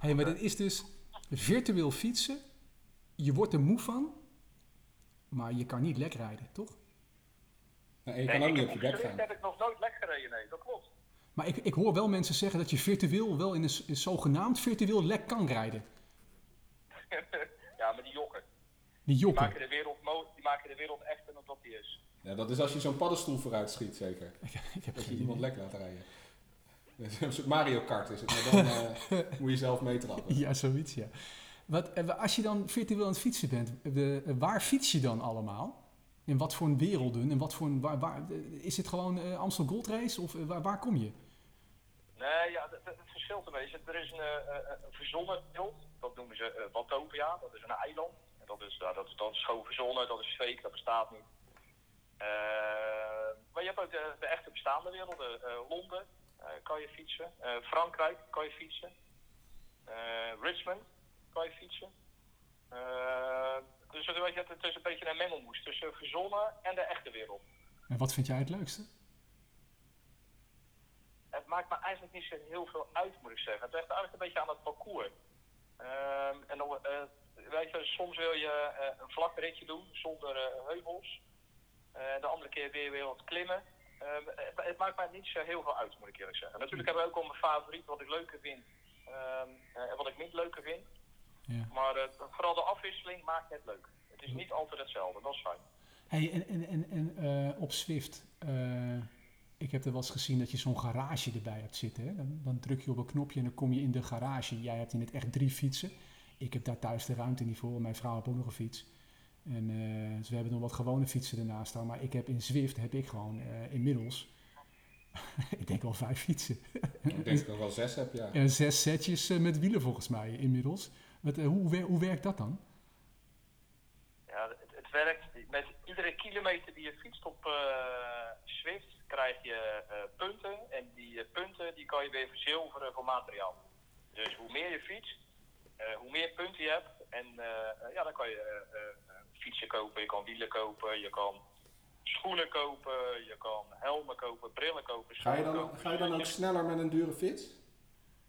[SPEAKER 1] hey, maar dit is dus virtueel fietsen. Je wordt er moe van, maar je kan niet lek rijden, toch?
[SPEAKER 2] Nee, Nou, je
[SPEAKER 5] Nee,
[SPEAKER 2] kan ook
[SPEAKER 5] ik
[SPEAKER 2] niet
[SPEAKER 5] heb
[SPEAKER 2] op je bek
[SPEAKER 5] gezwicht,
[SPEAKER 2] gaan.
[SPEAKER 5] heb ik nog nooit lek gereden, nee, dat klopt.
[SPEAKER 1] Maar ik, ik hoor wel mensen zeggen dat je virtueel wel in een, s- een zogenaamd virtueel lek kan rijden.
[SPEAKER 5] ja, maar die jokken.
[SPEAKER 1] Die
[SPEAKER 5] Die
[SPEAKER 1] jokken.
[SPEAKER 5] maken, de wereld mo- die maken de wereld echter dan dat die is.
[SPEAKER 2] Ja, dat is als je zo'n paddenstoel vooruit schiet, zeker.
[SPEAKER 1] Ik heb
[SPEAKER 2] Dat je
[SPEAKER 1] geen
[SPEAKER 2] iemand
[SPEAKER 1] idee.
[SPEAKER 2] lek laat rijden. Een soort Mario Kart is het, maar dan eh, moet je zelf meetrappen.
[SPEAKER 1] Ja, zoiets, ja. Wat, eh, als je dan virtueel aan het fietsen bent, eh, eh, waar fiets je dan allemaal? In wat voor een werelden? In wat voor een, waar, waar, eh, is het gewoon eh, Amstel Gold Race of eh, waar, waar kom je?
[SPEAKER 5] Nee, ja, dat, dat- het verschilt ermee. Is het- Er is een, eh, eh, een verzonnen beeld, dat noemen ze eh, Watopia, dat is een eiland. En dat, is, nou, dat, is- dat is gewoon verzonnen, dat is fake, dat bestaat niet. Eh, maar je hebt ook de, de echte bestaande werelden. Eh, Londen eh, kan je fietsen, Eh, Frankrijk kan je fietsen, Eh, Richmond kan je fietsen. Eh, dus het, weet je, het is een beetje een mengelmoes tussen verzonnen en de echte wereld.
[SPEAKER 1] En wat vind jij het leukste?
[SPEAKER 5] het maakt me eigenlijk niet zo heel veel uit, moet ik zeggen. Het ligt eigenlijk een beetje aan het parcours. Ehm, en dan, eh, weet je, soms wil je eh, een vlak ritje doen zonder eh, heuvels. Eh, de andere keer weer weer wat klimmen. Ehm, het, het maakt mij niet zo heel veel uit, moet ik eerlijk zeggen. Natuurlijk heb ik ook al mijn favoriet, wat ik leuker vind ehm, eh, en wat ik niet leuker vind.
[SPEAKER 1] Ja.
[SPEAKER 5] Maar eh, vooral de afwisseling maakt het leuk. Het is niet altijd hetzelfde, dat is fijn.
[SPEAKER 1] Hey, en en, en, en eh, op Swift, eh, ik heb er wel eens gezien dat je zo'n garage erbij hebt zitten. Hè? Dan, dan druk je op een knopje en dan kom je in de garage. Jij hebt in het echt drie fietsen. Ik heb daar thuis de ruimte niet voor. Mijn vrouw heeft ook nog een fiets. En, eh, dus we hebben nog wat gewone fietsen ernaast staan. Maar ik heb in Zwift heb ik gewoon eh, inmiddels, ik denk wel vijf fietsen.
[SPEAKER 2] Ik denk dat ik wel zes heb, ja.
[SPEAKER 1] En zes setjes eh, met wielen volgens mij inmiddels. Wat, eh, hoe, wer- hoe werkt dat dan?
[SPEAKER 5] Ja, het, het werkt. Met iedere kilometer die je fietst op eh Swift krijg je eh, punten. En die eh, punten die kan je weer verzilveren voor materiaal. Dus hoe meer je fietst, eh, hoe meer punten je hebt. En eh, ja, dan kan je eh, eh, fietsen kopen, je kan wielen kopen, je kan schoenen kopen, je kan helmen kopen, brillen kopen.
[SPEAKER 2] Ga je,
[SPEAKER 5] schoenen
[SPEAKER 2] dan,
[SPEAKER 5] kopen.
[SPEAKER 2] ga je dan ook sneller met een dure fiets?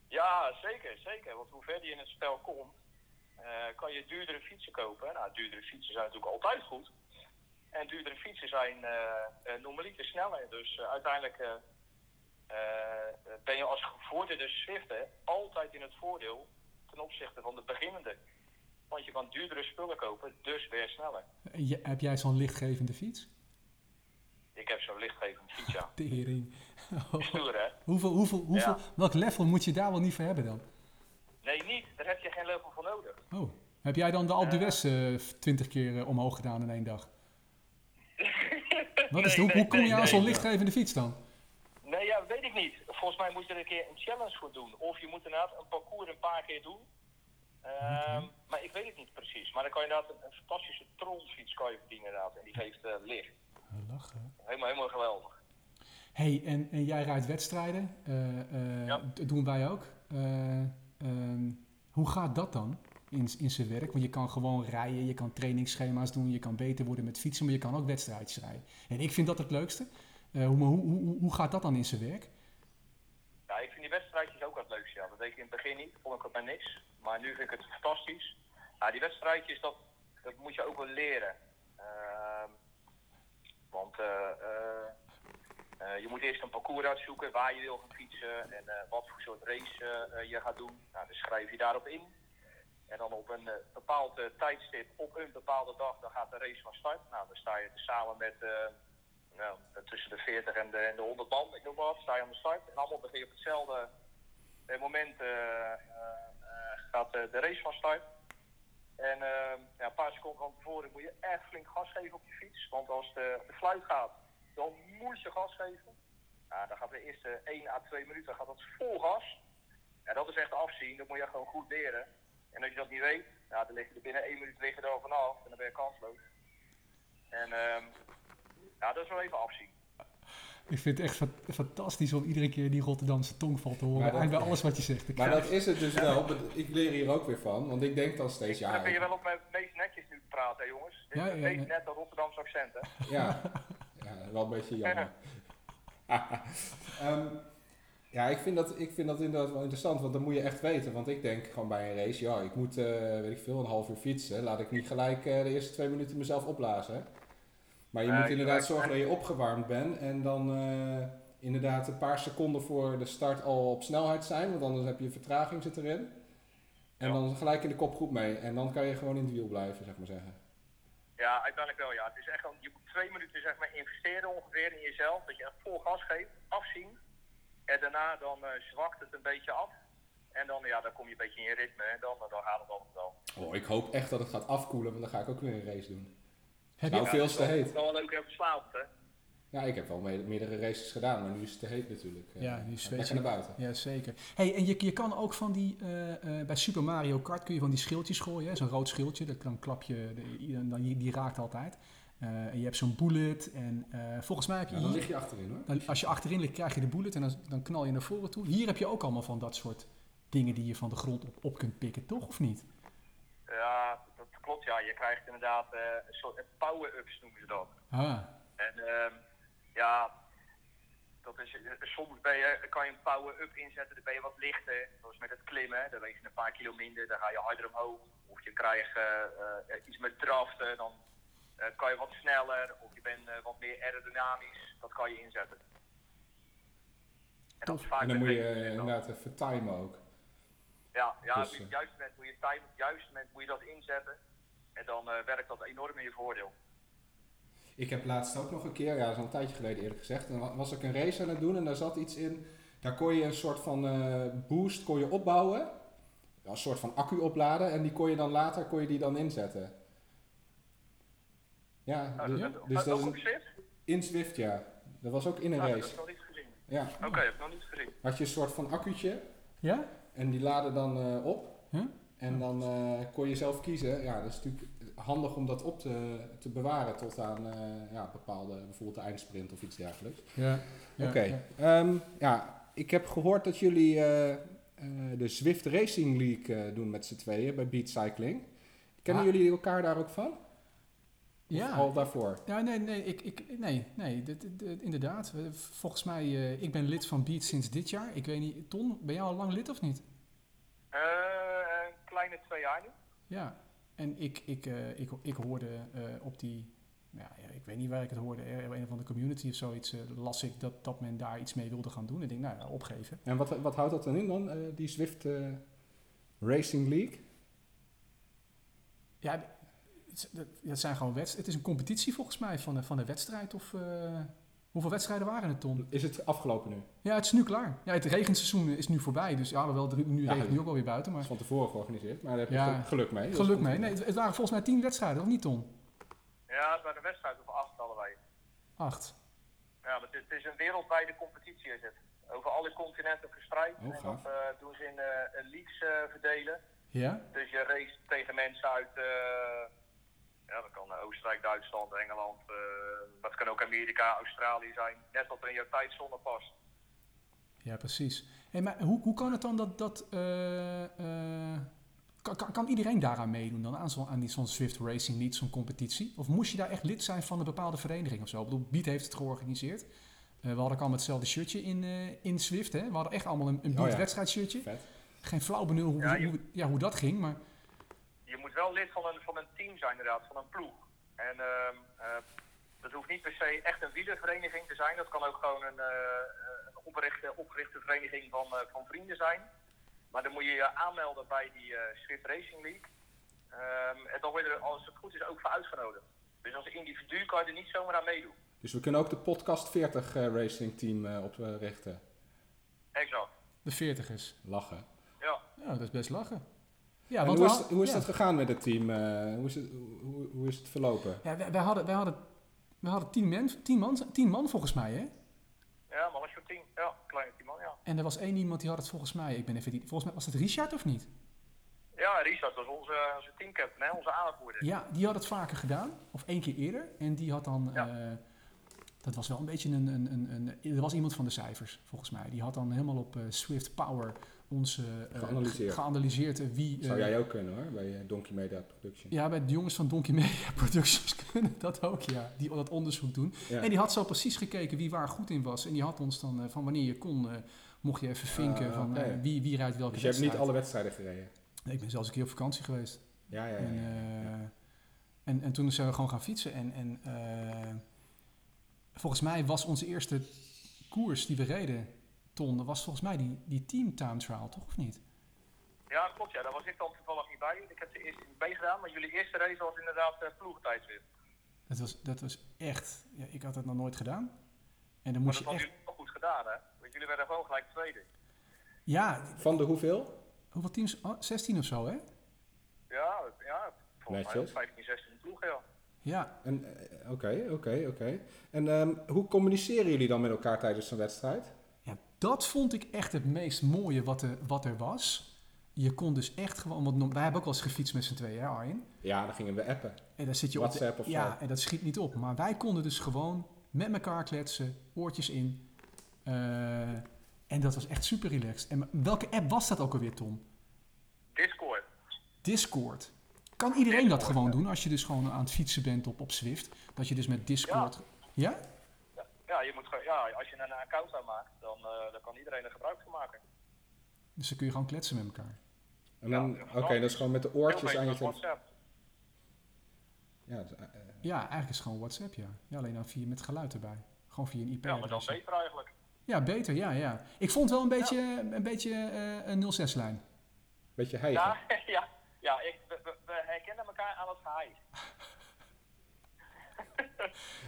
[SPEAKER 5] Ja, zeker, zeker. Want hoe verder je in het spel komt, eh, kan je duurdere fietsen kopen. Nou, duurdere fietsen zijn natuurlijk altijd goed. En duurdere fietsen zijn eh eh normaliter sneller. Dus eh, uiteindelijk eh, eh, ben je als gevorderde Zwifter altijd in het voordeel ten opzichte van de beginnende. Want je kan duurdere spullen kopen, dus weer sneller.
[SPEAKER 1] Je- heb jij zo'n lichtgevende fiets?
[SPEAKER 5] Ik heb zo'n lichtgevend fiets, ja.
[SPEAKER 1] Tering.
[SPEAKER 5] Stoer, hè?
[SPEAKER 1] Hoeveel, hoeveel, hoeveel,
[SPEAKER 5] Ja.
[SPEAKER 1] Welk level moet je daar wel niet voor hebben dan?
[SPEAKER 5] Nee, niet. Daar heb je geen level voor nodig.
[SPEAKER 1] Oh, heb jij dan de Alpe
[SPEAKER 5] Eh.
[SPEAKER 1] d'Huez eh, 20 keer eh, omhoog gedaan in één dag? Wat is de, hoe,
[SPEAKER 5] Nee, nee,
[SPEAKER 1] hoe kom je
[SPEAKER 5] nee,
[SPEAKER 1] aan
[SPEAKER 5] nee,
[SPEAKER 1] zo'n
[SPEAKER 2] nee.
[SPEAKER 1] lichtgevende fiets dan?
[SPEAKER 5] Nee, ja, weet ik niet. Volgens mij moet je er een keer een challenge voor doen. Of je moet inderdaad een parcours een paar keer doen. Ehm, Maar ik weet het niet precies. Maar dan kan je inderdaad een, een fantastische trollfiets kan je verdienen inderdaad. En die geeft eh, licht.
[SPEAKER 1] Lachen.
[SPEAKER 5] Helemaal, helemaal geweldig.
[SPEAKER 1] hey, en, en jij rijdt wedstrijden. eh, eh,
[SPEAKER 5] Ja.
[SPEAKER 1] d- Doen wij ook. Eh, ehm, hoe gaat dat dan in, in zijn werk? Want je kan gewoon rijden, je kan trainingsschema's doen, je kan beter worden met fietsen, maar je kan ook wedstrijdjes rijden. En ik vind dat het leukste. Eh, hoe- maar hoe, hoe, hoe- hoe gaat dat dan in zijn werk?
[SPEAKER 5] Ja, ik vind die wedstrijdjes ook wat leuks. Ja. Dat deed ik in het begin niet. Vond ik het maar niks. Maar nu vind ik het fantastisch. Ja, die wedstrijdjes, dat, dat moet je ook wel leren. Ehm, want eh, eh, eh, Eh, je moet eerst een parcours uitzoeken waar je wil gaan fietsen en eh, wat voor soort race eh, eh, je gaat doen. Nou, dan schrijf je daarop in. En dan op een eh, bepaald eh, tijdstip, op een bepaalde dag, dan gaat de race van start. Nou, dan sta je samen met eh, nou, tussen de 40 en de, en de 100 man, ik noem maar wat, sta je aan de start. En allemaal begin je op hetzelfde eh, moment eh, eh, eh, gaat eh, de race van start. En eh, ja, een paar seconden van tevoren moet je echt flink gas geven op je fiets. Want als de, de fluit gaat, dan moet je gas geven. Ja, dan gaat de eerste 1 à 2 minuten gaat dat vol gas. Ja, dat is echt afzien, dat moet je gewoon goed leren. En als je dat niet weet, ja, dan lig je er binnen 1 minuut liggen er al vanaf en dan ben je kansloos. En ehm, ja, dat is wel even afzien.
[SPEAKER 6] Ik vind het echt fa- fantastisch om iedere keer die Rotterdamse tongval te horen.
[SPEAKER 2] Maar dat-
[SPEAKER 6] en bij alles wat je zegt. Ik
[SPEAKER 2] Maar
[SPEAKER 6] ga-
[SPEAKER 2] dat is het dus wel. maar Ik leer hier ook weer van. Want ik denk dan steeds,
[SPEAKER 5] Dan
[SPEAKER 2] ja,
[SPEAKER 5] kun je
[SPEAKER 2] ik-
[SPEAKER 5] wel op mijn meest netjes nu praten, hè, jongens. Dit
[SPEAKER 1] Ja,
[SPEAKER 5] is het
[SPEAKER 1] ja,
[SPEAKER 5] meest
[SPEAKER 1] ja.
[SPEAKER 5] nette Rotterdamse accent, hè.
[SPEAKER 2] ja, ja, wel een beetje jammer. Ehm, ja, ik vind, dat, ik vind dat inderdaad wel interessant, want dat moet je echt weten. Want ik denk gewoon bij een race, ja, ik moet, eh, weet ik veel, een half uur fietsen. Laat ik niet gelijk eh, de eerste twee minuten mezelf opblazen. Maar je
[SPEAKER 5] Nee,
[SPEAKER 2] moet inderdaad
[SPEAKER 5] gelijk.
[SPEAKER 2] zorgen dat je opgewarmd bent. En dan eh, inderdaad een paar seconden voor de start al op snelheid zijn. Want anders heb je vertraging zit erin. En
[SPEAKER 5] Ja.
[SPEAKER 2] dan gelijk in de kopgroep mee. En dan kan je gewoon in het wiel blijven, zeg maar zeggen.
[SPEAKER 5] Ja, uiteindelijk wel, ja. Het is echt gewoon, je moet twee minuten zeg maar, investeren ongeveer in jezelf. Dat je echt vol gas geeft, afzien. En daarna dan eh, zwakt het een beetje af. En dan, ja, dan kom je een beetje in je ritme. En dan, dan gaat het altijd wel.
[SPEAKER 2] Oh, ik hoop echt dat het gaat afkoelen, want dan ga ik ook weer een race doen.
[SPEAKER 1] Heb
[SPEAKER 2] nou,
[SPEAKER 5] Ja,
[SPEAKER 2] veel
[SPEAKER 5] dat
[SPEAKER 2] is
[SPEAKER 5] is
[SPEAKER 2] te
[SPEAKER 5] wel-
[SPEAKER 2] heet.
[SPEAKER 5] dat is wel leuk en verslaafd, hè.
[SPEAKER 2] Ja, ik heb wel me- meerdere races gedaan, maar nu is het te heet natuurlijk. Eh,
[SPEAKER 1] Ja, nu is
[SPEAKER 2] ga ik
[SPEAKER 1] het
[SPEAKER 2] lekker
[SPEAKER 1] zweetje.
[SPEAKER 2] naar buiten.
[SPEAKER 1] Ja, zeker. Hey, en je, je kan ook van die, eh, eh, bij Super Mario Kart kun je van die schildjes gooien. hè. Zo'n rood schildje, dat kan klap je, de- ieder- dan, die raakt altijd. Eh, en je hebt zo'n bullet en eh, volgens mij heb je
[SPEAKER 2] Ja, Nou, dan
[SPEAKER 1] hier-
[SPEAKER 2] lig je achterin hoor.
[SPEAKER 1] dan, als je achterin ligt krijg je de bullet en dan, dan knal je naar voren toe. Hier heb je ook allemaal van dat soort dingen die je van de grond op, op kunt pikken, toch of niet?
[SPEAKER 5] Ja, dat klopt, ja. Je krijgt inderdaad eh, een soort eh, power-ups, noemen ze dat.
[SPEAKER 1] Ah,
[SPEAKER 5] En ehm, ja, dat is, eh, soms ben je, kan je een power-up inzetten, dan ben je wat lichter. Zoals met het klimmen, dan weeg je een paar kilo minder, dan ga je harder omhoog. Of je krijgt eh, eh, iets met draften, dan eh, kan je wat sneller. Of je bent eh, wat meer aerodynamisch, dat kan je inzetten. En dat is vaak
[SPEAKER 2] En dan
[SPEAKER 5] met
[SPEAKER 2] moet je
[SPEAKER 5] races
[SPEAKER 2] eh,
[SPEAKER 5] en zo.
[SPEAKER 2] inderdaad even timen ook.
[SPEAKER 5] Ja, ja
[SPEAKER 2] Dus,
[SPEAKER 5] op
[SPEAKER 2] eh,
[SPEAKER 5] het juiste moment moet je timen, op het juiste moment moet je dat inzetten. En dan eh, werkt dat enorm in je voordeel.
[SPEAKER 2] Ik heb laatst ook nog een keer, ja, dat is al een tijdje geleden eerlijk gezegd, en wa- was ik een race aan het doen en daar zat iets in. Daar kon je een soort van eh, boost kon je opbouwen, Ja, een soort van accu opladen en die kon je dan later kon je die dan inzetten. Ja,
[SPEAKER 5] Nou,
[SPEAKER 2] dus,
[SPEAKER 5] dat-
[SPEAKER 2] dus
[SPEAKER 5] ook
[SPEAKER 2] dat is
[SPEAKER 5] op
[SPEAKER 2] een-
[SPEAKER 5] Zwift?
[SPEAKER 2] in Zwift, ja. Dat was ook in een
[SPEAKER 5] Ah, dat heb ik
[SPEAKER 2] race.
[SPEAKER 5] nog niet gezien.
[SPEAKER 2] Ja,
[SPEAKER 5] Oké, dat heb ik nog niet gezien.
[SPEAKER 2] had je een soort van accu'tje
[SPEAKER 1] ja?
[SPEAKER 2] En die laden dan eh, op.
[SPEAKER 1] Ja.
[SPEAKER 2] En dan eh, kon je zelf kiezen. Ja, dat is natuurlijk handig om dat op te, te bewaren tot aan eh, ja, bepaalde, bijvoorbeeld de eindsprint of iets dergelijks.
[SPEAKER 1] Ja.
[SPEAKER 2] Oké. Ehm, ja, ik heb gehoord dat jullie eh, eh, de Zwift Racing League eh, doen met z'n tweeën bij Beat Cycling. Kennen
[SPEAKER 1] Ah.
[SPEAKER 2] jullie elkaar daar ook van? Of
[SPEAKER 1] Ja.
[SPEAKER 2] Al daarvoor?
[SPEAKER 1] Ja, nee, nee, ik, ik, nee, nee dit, dit- dit- inderdaad. Eh, Volgens mij, eh, ik ben lid van Beat sinds dit jaar. Ik weet niet, Ton, ben jij al lang lid of niet?
[SPEAKER 5] Eh, een kleine twee jaar nu.
[SPEAKER 1] Ja. En ik, ik, eh, ik, ik hoorde eh, op die, nou ja, ik weet niet waar ik het hoorde, eh, een van de community of zoiets, eh, las ik dat, dat men daar iets mee wilde gaan doen. Ik denk, nou ja, opgeven.
[SPEAKER 2] En wat, wat houdt dat dan in dan, eh, die Zwift eh, Racing League?
[SPEAKER 1] Ja, het is- dat- dat zijn gewoon wedstrijden. Het is een competitie volgens mij van, een- van een wedstrijd of... eh, hoeveel wedstrijden waren het, Ton?
[SPEAKER 2] Is het afgelopen nu?
[SPEAKER 1] Ja, het is nu klaar. Ja, het regenseizoen is nu voorbij, dus ja, wel, nu
[SPEAKER 2] Ja.
[SPEAKER 1] regent het nu ook alweer buiten,
[SPEAKER 2] Dat
[SPEAKER 1] maar...
[SPEAKER 2] is van tevoren georganiseerd, maar daar heb je
[SPEAKER 1] Ja.
[SPEAKER 2] gel- geluk mee. Dus
[SPEAKER 1] Geluk
[SPEAKER 2] komt
[SPEAKER 1] mee.
[SPEAKER 2] goed.
[SPEAKER 1] Nee, het, het waren volgens mij tien wedstrijden, of niet Ton?
[SPEAKER 5] Ja, het waren een wedstrijd of acht allebei.
[SPEAKER 1] Acht.
[SPEAKER 5] Ja, maar het, het is een wereldwijde competitie is het. Over alle continenten verspreid.
[SPEAKER 2] Oh,
[SPEAKER 5] en
[SPEAKER 2] gaaf.
[SPEAKER 5] dat eh, doen ze in eh, in leagues eh, verdelen.
[SPEAKER 1] Ja?
[SPEAKER 5] Dus je race tegen mensen uit... eh, ja, dat kan eh, Oostenrijk, Duitsland, Engeland. eh, maar het kan ook Amerika, Australië zijn. Net wat er in jouw tijdzone past.
[SPEAKER 1] Ja, precies. Hey, maar hoe, hoe kan het dan dat... dat eh, eh, kan, kan, kan iedereen daaraan meedoen dan? Aan, zo'n- aan die- zo'n Swift Racing, niet zo'n competitie? Of moest je daar echt lid zijn van een bepaalde vereniging of zo? Ik bedoel, Beat heeft het georganiseerd. Eh, we hadden allemaal hetzelfde shirtje in, eh, in Swift, hè? We hadden echt allemaal een, een
[SPEAKER 2] Oh,
[SPEAKER 1] Beat
[SPEAKER 2] ja.
[SPEAKER 1] wedstrijdshirtje.
[SPEAKER 2] Vet.
[SPEAKER 1] Geen flauw benul hoe,
[SPEAKER 5] Ja,
[SPEAKER 1] hoe-
[SPEAKER 5] je-
[SPEAKER 1] hoe, ja, hoe dat ging, maar...
[SPEAKER 5] je moet wel lid van een, van een team zijn inderdaad, van een ploeg. En ehm, eh, Dat hoeft niet per se echt een wielervereniging te zijn. Dat kan ook gewoon een, eh, een oprichte, opgerichte vereniging van, eh, van vrienden zijn. Maar dan moet je je aanmelden bij die eh, Swift Racing League. Ehm, en dan word je er, als het goed is, ook voor uitgenodigd. Dus als individu kan je er niet zomaar aan meedoen.
[SPEAKER 2] Dus we kunnen ook de podcast 40 eh, Racing Team eh, oprichten.
[SPEAKER 5] Exact.
[SPEAKER 1] De veertigers.
[SPEAKER 2] Lachen.
[SPEAKER 5] Ja.
[SPEAKER 1] Ja, dat is best lachen. Ja,
[SPEAKER 2] en
[SPEAKER 1] want
[SPEAKER 2] hoe
[SPEAKER 1] we
[SPEAKER 2] is,
[SPEAKER 1] had-
[SPEAKER 2] hoe is
[SPEAKER 1] ja.
[SPEAKER 2] dat gegaan met het team? eh, hoe, is het, hoe, hoe is het verlopen?
[SPEAKER 1] Ja, wij, wij hadden, wij hadden, wij hadden tien, mens, tien, man, tien man volgens mij, hè?
[SPEAKER 5] Ja, maar was je op tien? Ja, kleine tien man, ja.
[SPEAKER 1] En er was één iemand die had het volgens mij, ik ben even die, volgens mij was het Richard of niet?
[SPEAKER 5] Ja, Richard was onze, onze teamcaptain, hè, onze aanvoerder.
[SPEAKER 1] Ja, die had het vaker gedaan, of één keer eerder. En die had dan,
[SPEAKER 5] Ja.
[SPEAKER 1] eh, dat was wel een beetje een, een, een, een, er was iemand van de cijfers volgens mij. Die had dan helemaal op eh, Swift Power ons eh, eh,
[SPEAKER 2] Geanalyseerd.
[SPEAKER 1] ge- geanalyseerd, eh, wie...
[SPEAKER 2] Zou
[SPEAKER 1] eh,
[SPEAKER 2] jij ook kunnen hoor, bij eh, Donkey Media Production.
[SPEAKER 1] ja, bij de jongens van Donkey Media Productions kunnen dat ook, ja. Die dat onderzoek doen.
[SPEAKER 2] Ja. Dus
[SPEAKER 1] En die had zo precies gekeken wie waar goed in was. En die had ons dan eh, van wanneer je kon, eh, mocht je even vinken
[SPEAKER 2] Ah,
[SPEAKER 1] van eh,
[SPEAKER 2] oké.
[SPEAKER 1] wie, wie rijdt welke
[SPEAKER 2] dus je hebt niet
[SPEAKER 1] wedstrijd.
[SPEAKER 2] alle wedstrijden gereden?
[SPEAKER 1] Nee, ik ben zelfs een keer op vakantie geweest.
[SPEAKER 2] Ja, ja, ja.
[SPEAKER 1] En,
[SPEAKER 2] ja.
[SPEAKER 1] eh, en, en toen zijn we gewoon gaan fietsen. En, en eh, volgens mij was onze eerste koers die we reden, Ton, dat was volgens mij die, die team time trial, toch of niet?
[SPEAKER 5] Ja, klopt. Ja. Daar was ik dan toevallig niet bij. Ik heb ze eerst niet meegedaan, maar jullie eerste race was inderdaad eh ploegentijdrit.
[SPEAKER 1] Dat was, dat was echt, ja, ik had dat nog nooit gedaan. En dan
[SPEAKER 5] Maar
[SPEAKER 1] moest je
[SPEAKER 5] dat hadden
[SPEAKER 1] echt,
[SPEAKER 5] jullie ook goed gedaan, hè? Want jullie werden gewoon gelijk tweede.
[SPEAKER 1] ja,
[SPEAKER 2] Van de hoeveel?
[SPEAKER 1] hoeveel teams? Oh, 16 of zo, hè?
[SPEAKER 5] Ja, ja volgens mij
[SPEAKER 2] Netjes.
[SPEAKER 5] 15, 16 ploeg, ja.
[SPEAKER 1] Ja,
[SPEAKER 2] En, eh, Oké, oké, oké. En ehm, hoe communiceren jullie dan met elkaar tijdens een wedstrijd?
[SPEAKER 1] Ja, dat vond ik echt het meest mooie wat er, wat er was. Je kon dus echt gewoon, want no- wij hebben ook wel eens gefietst met z'n tweeën, hè Arjen?
[SPEAKER 2] Ja, dan gingen we appen.
[SPEAKER 1] En dan zit je op
[SPEAKER 2] WhatsApp
[SPEAKER 1] de-
[SPEAKER 2] of
[SPEAKER 1] Ja,
[SPEAKER 2] zo.
[SPEAKER 1] en dat schiet niet op. Maar wij konden dus gewoon met elkaar kletsen, oortjes in. Eh, en dat was echt super relaxed. En welke app was dat ook alweer, Tom?
[SPEAKER 5] Discord.
[SPEAKER 1] Discord. Kan iedereen dat
[SPEAKER 5] Discord,
[SPEAKER 1] gewoon doen als je dus gewoon aan het fietsen bent op, op Swift? Dat je dus met Discord... Ja?
[SPEAKER 5] Ja, je moet, gewoon- ja, als je een account aanmaakt, dan, eh, dan kan iedereen er gebruik van maken.
[SPEAKER 1] Dus dan kun je gewoon kletsen met elkaar.
[SPEAKER 2] En dan,
[SPEAKER 5] Ja,
[SPEAKER 2] oké, dat is gewoon met de oortjes
[SPEAKER 5] Heel
[SPEAKER 2] aan je
[SPEAKER 5] beter dan
[SPEAKER 2] telefoon.
[SPEAKER 5] WhatsApp.
[SPEAKER 2] Ja, dus, eh, eh,
[SPEAKER 1] Ja, eigenlijk is het gewoon WhatsApp, ja. ja alleen dan via, met geluid erbij. Gewoon via een IP.
[SPEAKER 5] Ja, maar dan beter eigenlijk.
[SPEAKER 1] Ja, beter, ja, ja. Ik vond wel een beetje, een, beetje eh, een 06-lijn.
[SPEAKER 2] beetje heigen.
[SPEAKER 5] Ja, ja, ja ik, we, we- we herkennen elkaar aan het geheim.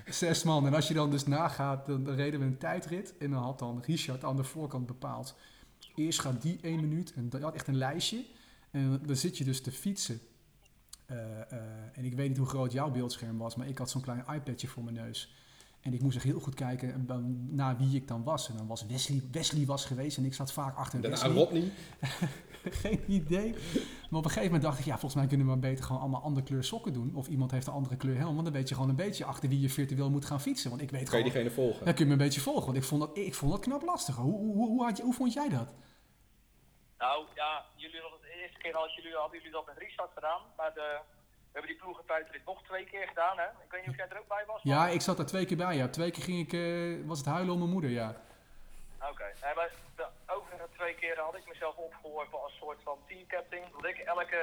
[SPEAKER 1] Zes man. En als je dan dus nagaat, dan, dan reden we een tijdrit. En dan had dan Richard aan de voorkant bepaald. Eerst gaat die één minuut. En dat had echt een lijstje. En dan zit je dus te fietsen. Eh, eh, en ik weet niet hoe groot jouw beeldscherm was, maar ik had zo'n klein iPadje voor mijn neus. En ik moest echt heel goed kijken eh, naar wie ik dan was. En dan was Wesley, Wesley was geweest en ik zat vaak achter
[SPEAKER 2] Daarna
[SPEAKER 1] Wesley.
[SPEAKER 2] Rodney.
[SPEAKER 1] Geen idee. Maar op een gegeven moment dacht ik, ja, volgens mij kunnen we maar beter gewoon allemaal andere kleur sokken doen. Of iemand heeft een andere kleur helm. Want dan weet je gewoon een beetje achter wie je virtueel moet gaan fietsen. Want ik weet
[SPEAKER 2] Kan je
[SPEAKER 1] gewoon,
[SPEAKER 2] diegene volgen?
[SPEAKER 1] dan kun je me een beetje volgen. Want ik vond dat, ik vond dat knap lastig. Hoe, hoe, hoe, hoe had je, hoe vond jij dat?
[SPEAKER 5] Nou ja, jullie hadden de eerste keer als jullie, hadden jullie dat met Richard gedaan. Maar de, we hebben die ploegentijdrit nog twee keer gedaan, hè? Ik weet niet of jij er ook bij was. maar-
[SPEAKER 1] Ja, ik zat daar twee keer bij. Ja. Twee keer ging ik, eh, was het huilen om mijn moeder, ja.
[SPEAKER 5] Ah, Oké, nee, maar de overige twee keren had ik mezelf opgeworpen als soort van teamcaptain. Dat ik elke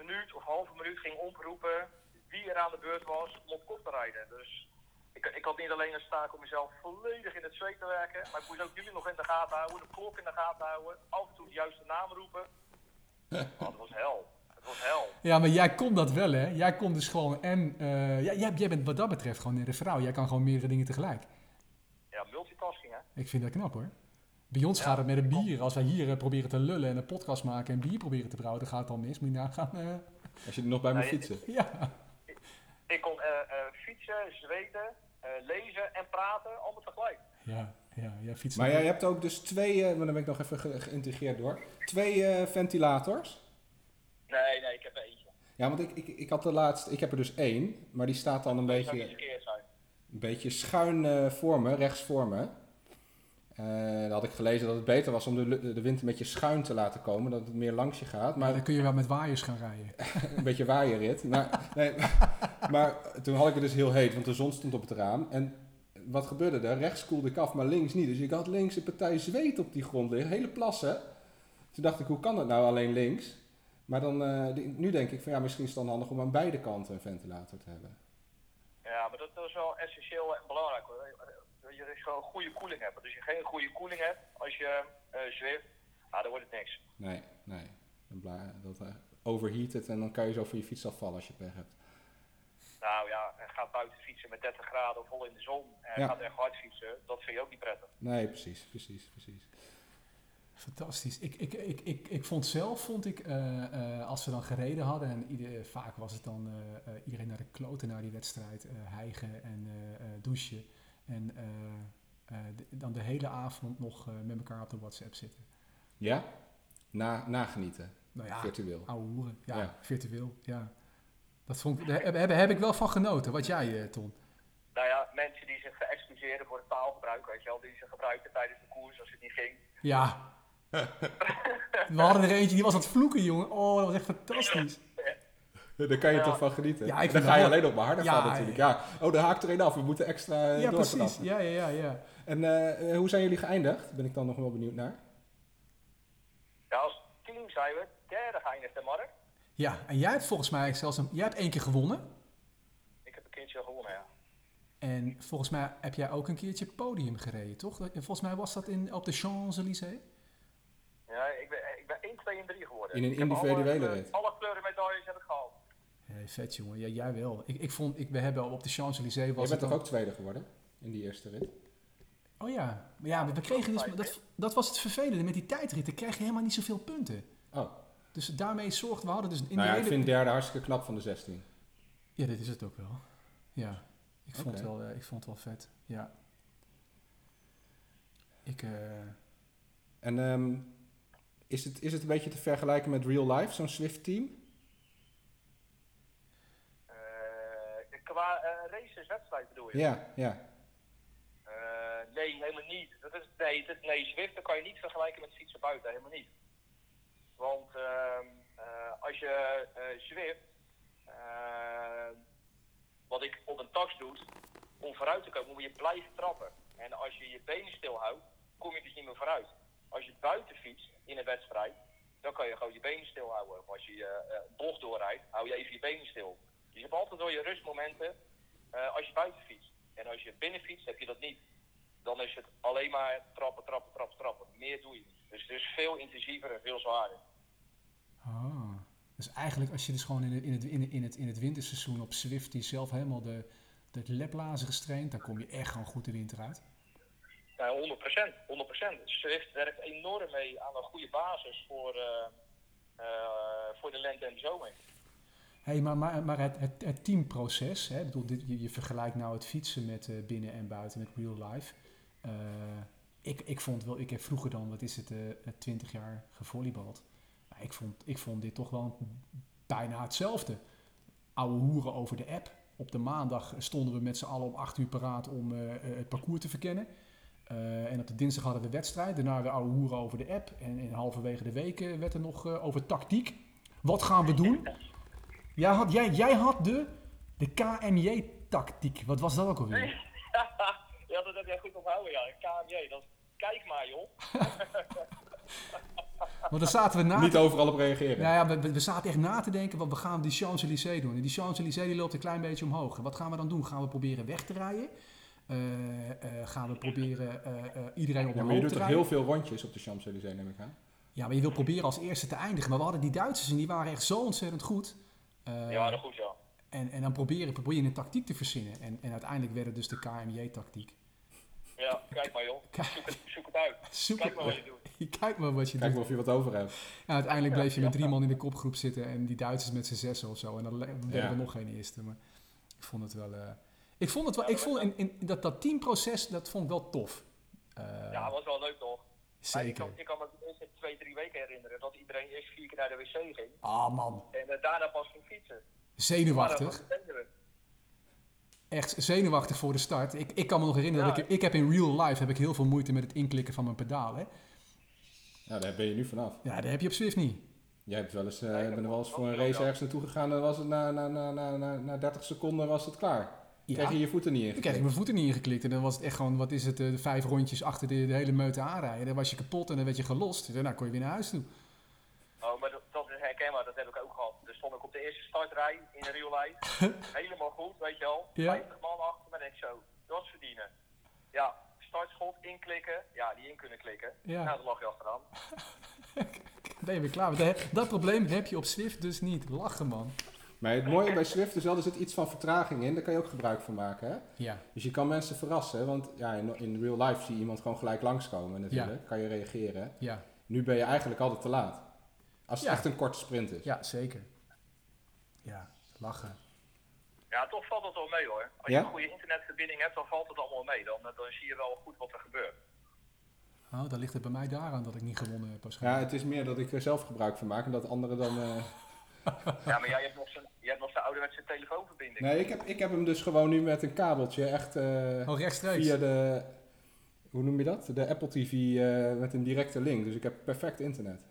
[SPEAKER 5] minuut of halve minuut ging oproepen wie er aan de beurt was om op kop te rijden. Dus ik, ik had niet alleen een taak om mezelf volledig in het zweet te werken, maar ik moest ook jullie nog in de gaten houden, de klok in de gaten houden, af en toe de juiste naam roepen. Oh, dat was hel. Dat was hel.
[SPEAKER 1] Ja, maar jij kon dat wel, hè. Jij kon dus gewoon, en eh, jij, jij, jij bent wat dat betreft gewoon een vrouw. Jij kan gewoon meerdere dingen tegelijk.
[SPEAKER 5] Ja, multitasking hè.
[SPEAKER 1] Ik vind dat knap, hoor. Bij ons
[SPEAKER 5] Ja,
[SPEAKER 1] gaat het met een bier. Als wij hier eh, proberen te lullen en een podcast maken en bier proberen te brouwen, dan gaat het al mis. Moet je nagaan. eh,
[SPEAKER 2] Als je er nog bij moet
[SPEAKER 5] Nee,
[SPEAKER 2] fietsen.
[SPEAKER 1] Ja,
[SPEAKER 5] Ik kon eh, eh, fietsen, zweten, eh, lezen en praten, allemaal tegelijk.
[SPEAKER 1] ja, ja, ja fietsen.
[SPEAKER 2] Maar jij hebt ook dus twee, eh, maar dan ben ik nog even ge- geïntegreerd door. Twee eh, ventilators.
[SPEAKER 5] Nee, nee, ik heb er eentje.
[SPEAKER 2] Ja, want ik, ik, ik had de laatste, ik heb er dus één, maar die staat dan een
[SPEAKER 5] Dat zou niet
[SPEAKER 2] beetje,
[SPEAKER 5] verkeerd zijn.
[SPEAKER 2] een beetje schuin eh, voor me, rechts voor me. Eh, dan had ik gelezen dat het beter was om de, lu- de wind een beetje schuin te laten komen, dat het meer langs je gaat.
[SPEAKER 1] Maar
[SPEAKER 2] Maar
[SPEAKER 1] dan kun je wel met waaiers gaan rijden.
[SPEAKER 2] een beetje waaierrit. Maar, nee, maar toen had ik het dus heel heet, want de zon stond op het raam. En wat gebeurde er? Rechts koelde ik af, maar links niet. Dus ik had links een partij zweet op die grond liggen, hele plassen. Toen dacht ik, hoe kan dat nou alleen links? Maar dan, eh, die- nu denk ik van ja, misschien is het dan handig om aan beide kanten een ventilator te hebben.
[SPEAKER 5] Ja, Ja, maar dat is wel essentieel en belangrijk hoor. Je, je gewoon een goede koeling hebben. Dus als je geen goede koeling hebt, als je eh zweeft, ah, dan wordt het niks.
[SPEAKER 2] Nee, nee. Dan bla- dat eh, overheat het en dan kan je zo van je fiets afvallen als je pech hebt.
[SPEAKER 5] Nou ja, en gaat buiten fietsen met 30 graden of vol in de zon en
[SPEAKER 2] Ja.
[SPEAKER 5] gaat echt hard fietsen, dat vind je ook niet prettig.
[SPEAKER 2] Nee, precies, precies, precies.
[SPEAKER 1] Fantastisch. Ik, ik, ik, ik, ik vond zelf, vond ik, eh, eh, als we dan gereden hadden, en ieder, vaak was het dan eh, eh, iedereen naar de kloten naar die wedstrijd, eh hijgen en eh, eh, douchen. En eh, eh, de- dan de hele avond nog eh, met elkaar op de WhatsApp zitten.
[SPEAKER 2] Ja? Na, nagenieten,
[SPEAKER 1] Nou ja,
[SPEAKER 2] virtueel.
[SPEAKER 1] ouwe hoeren. Ja,
[SPEAKER 2] Ja.
[SPEAKER 1] virtueel. Ja. Dat vond ik, daar heb, heb, heb ik wel van genoten. Wat jij, eh, Ton?
[SPEAKER 5] Nou ja, mensen die zich excuseren voor het taalgebruik, weet je wel, die ze gebruikten tijdens de koers als het niet ging.
[SPEAKER 1] Ja. We hadden er eentje, die was aan het vloeken, jongen. Oh, dat was echt fantastisch.
[SPEAKER 2] Daar kan je
[SPEAKER 5] Ja.
[SPEAKER 2] toch van genieten?
[SPEAKER 1] Ja, ik
[SPEAKER 2] Ja, dan
[SPEAKER 1] vind
[SPEAKER 2] ga je
[SPEAKER 1] wel-
[SPEAKER 2] alleen op mijn harder
[SPEAKER 1] Ja,
[SPEAKER 2] van natuurlijk. Ja. Oh, daar haakt er een af. We moeten extra eh,
[SPEAKER 1] Ja,
[SPEAKER 2] door vanaf.
[SPEAKER 1] precies. Ja, ja, ja, ja.
[SPEAKER 2] En eh, eh, hoe zijn jullie geëindigd? Ben ik dan nog wel benieuwd naar.
[SPEAKER 5] Ja, Nou, als team zijn we derde geëindigd, hè Mark?
[SPEAKER 1] Ja, en jij hebt volgens mij zelfs een, jij hebt één keer gewonnen.
[SPEAKER 5] Ik heb een keertje gewonnen, ja.
[SPEAKER 1] En volgens mij heb jij ook een keertje podium gereden, toch? Dat- Volgens mij was dat in, op de Champs-Élysées.
[SPEAKER 5] Ja, ik ben, ik ben 1, 2 en 3 geworden.
[SPEAKER 2] In een
[SPEAKER 5] Ik heb alle
[SPEAKER 2] individuele
[SPEAKER 5] kleur-
[SPEAKER 2] rit.
[SPEAKER 5] Alle kleuren medailles heb ik gehaald.
[SPEAKER 1] Hey, vet jongen, ja, jij wel. Ik, ik vond, ik, we hebben op de Champs-Élysées
[SPEAKER 2] Je
[SPEAKER 1] was het
[SPEAKER 2] bent toch
[SPEAKER 1] dan-
[SPEAKER 2] ook tweede geworden in die eerste rit?
[SPEAKER 1] Oh ja, Maar ja, we kregen dus, dat, dat was het vervelende met die tijdrit. Dan krijg je helemaal niet zoveel punten.
[SPEAKER 2] Oh,
[SPEAKER 1] Dus daarmee zorgt, we hadden dus in
[SPEAKER 2] nou ja,
[SPEAKER 1] de
[SPEAKER 2] ik
[SPEAKER 1] hele...
[SPEAKER 2] vind derde hartstikke knap van de 16.
[SPEAKER 1] Ja, dit is het ook wel. Ja, ik vond, het,
[SPEAKER 2] Oké.
[SPEAKER 1] wel, eh, ik vond het wel vet. Ja. Ik, eh,
[SPEAKER 2] En ehm, is, het, is het een beetje te vergelijken met real life, zo'n Swift team?
[SPEAKER 5] Eh, qua eh races, wedstrijd bedoel je?
[SPEAKER 2] Ja, ja.
[SPEAKER 5] Eh, nee, helemaal niet. Dat is, nee, dat, nee, Zwift dat kan je niet vergelijken met fietsen buiten, helemaal niet. Want ehm, eh, als je eh Zwift, eh, wat ik op een tax doe, om vooruit te komen moet je blijven trappen. En als je je benen stilhoudt, kom je dus niet meer vooruit. Als je buiten fietst in een wedstrijd, dan kan je gewoon je benen stilhouden. Of als je eh, eh, een bocht doorrijdt, hou je even je benen stil. Dus je hebt altijd wel je rustmomenten eh, als je buiten fietst. En als je binnen fietst, heb je dat niet. Dan is het alleen maar trappen, trappen, trappen, trappen. Meer doe je niet. Dus het is veel intensiever en veel zwaarder.
[SPEAKER 1] Ah, dus eigenlijk als je dus gewoon in het, in het, in het, in het, in het winterseizoen op Swift die zelf helemaal de, de leplazen gestraind, dan kom je echt gewoon goed de winter uit.
[SPEAKER 5] Nou, 100%. 100%. Swift Dus werkt enorm mee aan een goede basis voor, eh, eh, voor de lente en de zomer.
[SPEAKER 1] Hey, maar, maar, maar het, het, het teamproces, hè, ik bedoel, dit, je, je vergelijkt nou het fietsen met eh, binnen en buiten, met real life. Eh, ik, ik vond wel, ik heb vroeger dan, wat is het, eh, eh, 20 jaar gevolleybald. Maar ik, vond, ik vond dit toch wel een- bijna hetzelfde. Oude hoeren over de app. Op de maandag stonden we met z'n allen om 8 uur paraat om eh, eh, het parcours te verkennen. Eh, en op de dinsdag hadden we wedstrijd. Daarna weer oude hoeren over de app. En, en halverwege de week eh, werd er nog eh, over tactiek. Wat gaan we doen? Jij had, jij, jij had de, de KMJ-tactiek. Wat was dat ook alweer?
[SPEAKER 5] ja, dat heb jij goed onthouden, ja. KMJ, dat is- kijk maar joh.
[SPEAKER 1] Want dan zaten we na.
[SPEAKER 2] Niet overal op reageren.
[SPEAKER 1] Nou ja, we- we, we zaten echt na te denken, want we gaan die Champs-Élysées doen. En die Champs-Élysées die loopt een klein beetje omhoog. En wat gaan we dan doen? Gaan we proberen weg te rijden? Eh, eh, gaan we proberen eh, eh, iedereen op
[SPEAKER 2] Ja,
[SPEAKER 1] een
[SPEAKER 2] maar
[SPEAKER 1] loop
[SPEAKER 2] je doet
[SPEAKER 1] te
[SPEAKER 2] toch
[SPEAKER 1] rijden?
[SPEAKER 2] heel veel rondjes op de Champs-Élysées, neem ik aan?
[SPEAKER 1] Ja, maar je wil proberen als eerste te eindigen. Maar we hadden die Duitsers en die waren echt zo ontzettend goed. Eh,
[SPEAKER 5] ja, dat goed ja.
[SPEAKER 1] en, en dan proberen, probeer je een tactiek te verzinnen. En, en uiteindelijk werd het dus de KMJ-tactiek.
[SPEAKER 5] Ja, kijk maar joh. Zoek het, zoek het uit. Kijk maar wat
[SPEAKER 1] Super.
[SPEAKER 5] je doet.
[SPEAKER 1] Kijk maar wat je
[SPEAKER 2] Kijk
[SPEAKER 1] doet.
[SPEAKER 2] maar of je wat over hebt.
[SPEAKER 1] Ja, uiteindelijk bleef je met drie man in de kopgroep zitten en die Duitsers met z'n zessen of zo. En dan le- werden
[SPEAKER 2] Ja.
[SPEAKER 1] we nog geen eerste. Maar ik vond het wel. eh, ik vond het wel. Ik vond in, in, dat, dat teamproces, dat vond ik wel tof. Eh,
[SPEAKER 5] Ja, dat was wel leuk toch? Maar Ik
[SPEAKER 1] zeker.
[SPEAKER 5] kan, ik kan me de eerste twee, drie weken herinneren dat iedereen eerst vier keer naar de wc ging.
[SPEAKER 1] Ah man,
[SPEAKER 5] En eh, daarna pas ging fietsen. Maar dat
[SPEAKER 1] zenuwachtig.
[SPEAKER 5] was het enige.
[SPEAKER 1] Echt zenuwachtig voor de start. Ik, ik kan me nog herinneren
[SPEAKER 5] Ja.
[SPEAKER 1] dat ik, ik heb in real life heb ik heel veel moeite met het inklikken van mijn pedaal. Hè?
[SPEAKER 2] Nou, daar ben je nu vanaf.
[SPEAKER 1] Ja, dat heb je op Swift niet.
[SPEAKER 2] Jij hebt wel eens, eh,
[SPEAKER 5] Nee, dat
[SPEAKER 2] bent er wel eens
[SPEAKER 5] klopt.
[SPEAKER 2] voor een
[SPEAKER 5] Dat
[SPEAKER 2] race
[SPEAKER 5] klopt, ja.
[SPEAKER 2] ergens naartoe gegaan en was het na, na, na, na, na, na 30 seconden was het klaar.
[SPEAKER 1] Ja.
[SPEAKER 2] Kreeg je je voeten niet in.
[SPEAKER 1] Ik kreeg ik mijn voeten niet ingeklikt en dan was het echt gewoon, wat is het, eh, de vijf rondjes achter de, de hele meute aanrijden. Dan was je kapot en dan werd je gelost. Daarna kon je weer naar huis toe.
[SPEAKER 5] Oh, maar dat, dat is herkenbaar, dat heb ik ook gehad. Dus stond ik op de eerste startrij in real life. Helemaal goed, weet je wel.
[SPEAKER 1] Ja.
[SPEAKER 5] 50 man achter me, denk ik zo. Dat verdienen. Ja, startschot inklikken. Ja, die in kunnen klikken.
[SPEAKER 1] Ja.
[SPEAKER 5] Nou, dat lag je achteraan.
[SPEAKER 1] Ben je weer klaar? Dat, heb- dat probleem heb je op Swift dus niet. Lachen, man.
[SPEAKER 2] Maar het mooie bij Swift is wel, er zit iets van vertraging in. Daar kan je ook gebruik van maken. Hè?
[SPEAKER 1] Ja,
[SPEAKER 2] Dus je kan mensen verrassen. Want ja, in, in real life zie je iemand gewoon gelijk langskomen natuurlijk. Kan je reageren.
[SPEAKER 1] ja,
[SPEAKER 2] Nu ben je eigenlijk altijd te laat. Als het
[SPEAKER 1] Ja.
[SPEAKER 2] echt een korte sprint is.
[SPEAKER 1] ja, zeker. Ja, lachen.
[SPEAKER 5] Ja, toch valt dat wel mee hoor. Als
[SPEAKER 2] Ja?
[SPEAKER 5] je een goede internetverbinding hebt, dan valt het allemaal mee. Dan, dan zie je wel goed wat er gebeurt.
[SPEAKER 1] Oh, dan ligt het bij mij daaraan dat ik niet gewonnen heb
[SPEAKER 2] Ja,
[SPEAKER 1] waarschijnlijk.
[SPEAKER 2] het is meer dat ik er zelf gebruik van maak en dat anderen dan... eh,
[SPEAKER 5] Ja, maar jij hebt nog zo'n- jij hebt nog zo'n ouderwetse telefoonverbinding.
[SPEAKER 2] Nee, ik heb, ik heb hem dus gewoon nu met een kabeltje echt eh,
[SPEAKER 1] Oh, rechtstreeks.
[SPEAKER 2] via de... Hoe noem je dat? De Apple TV eh, met een directe link. Dus ik heb perfect internet.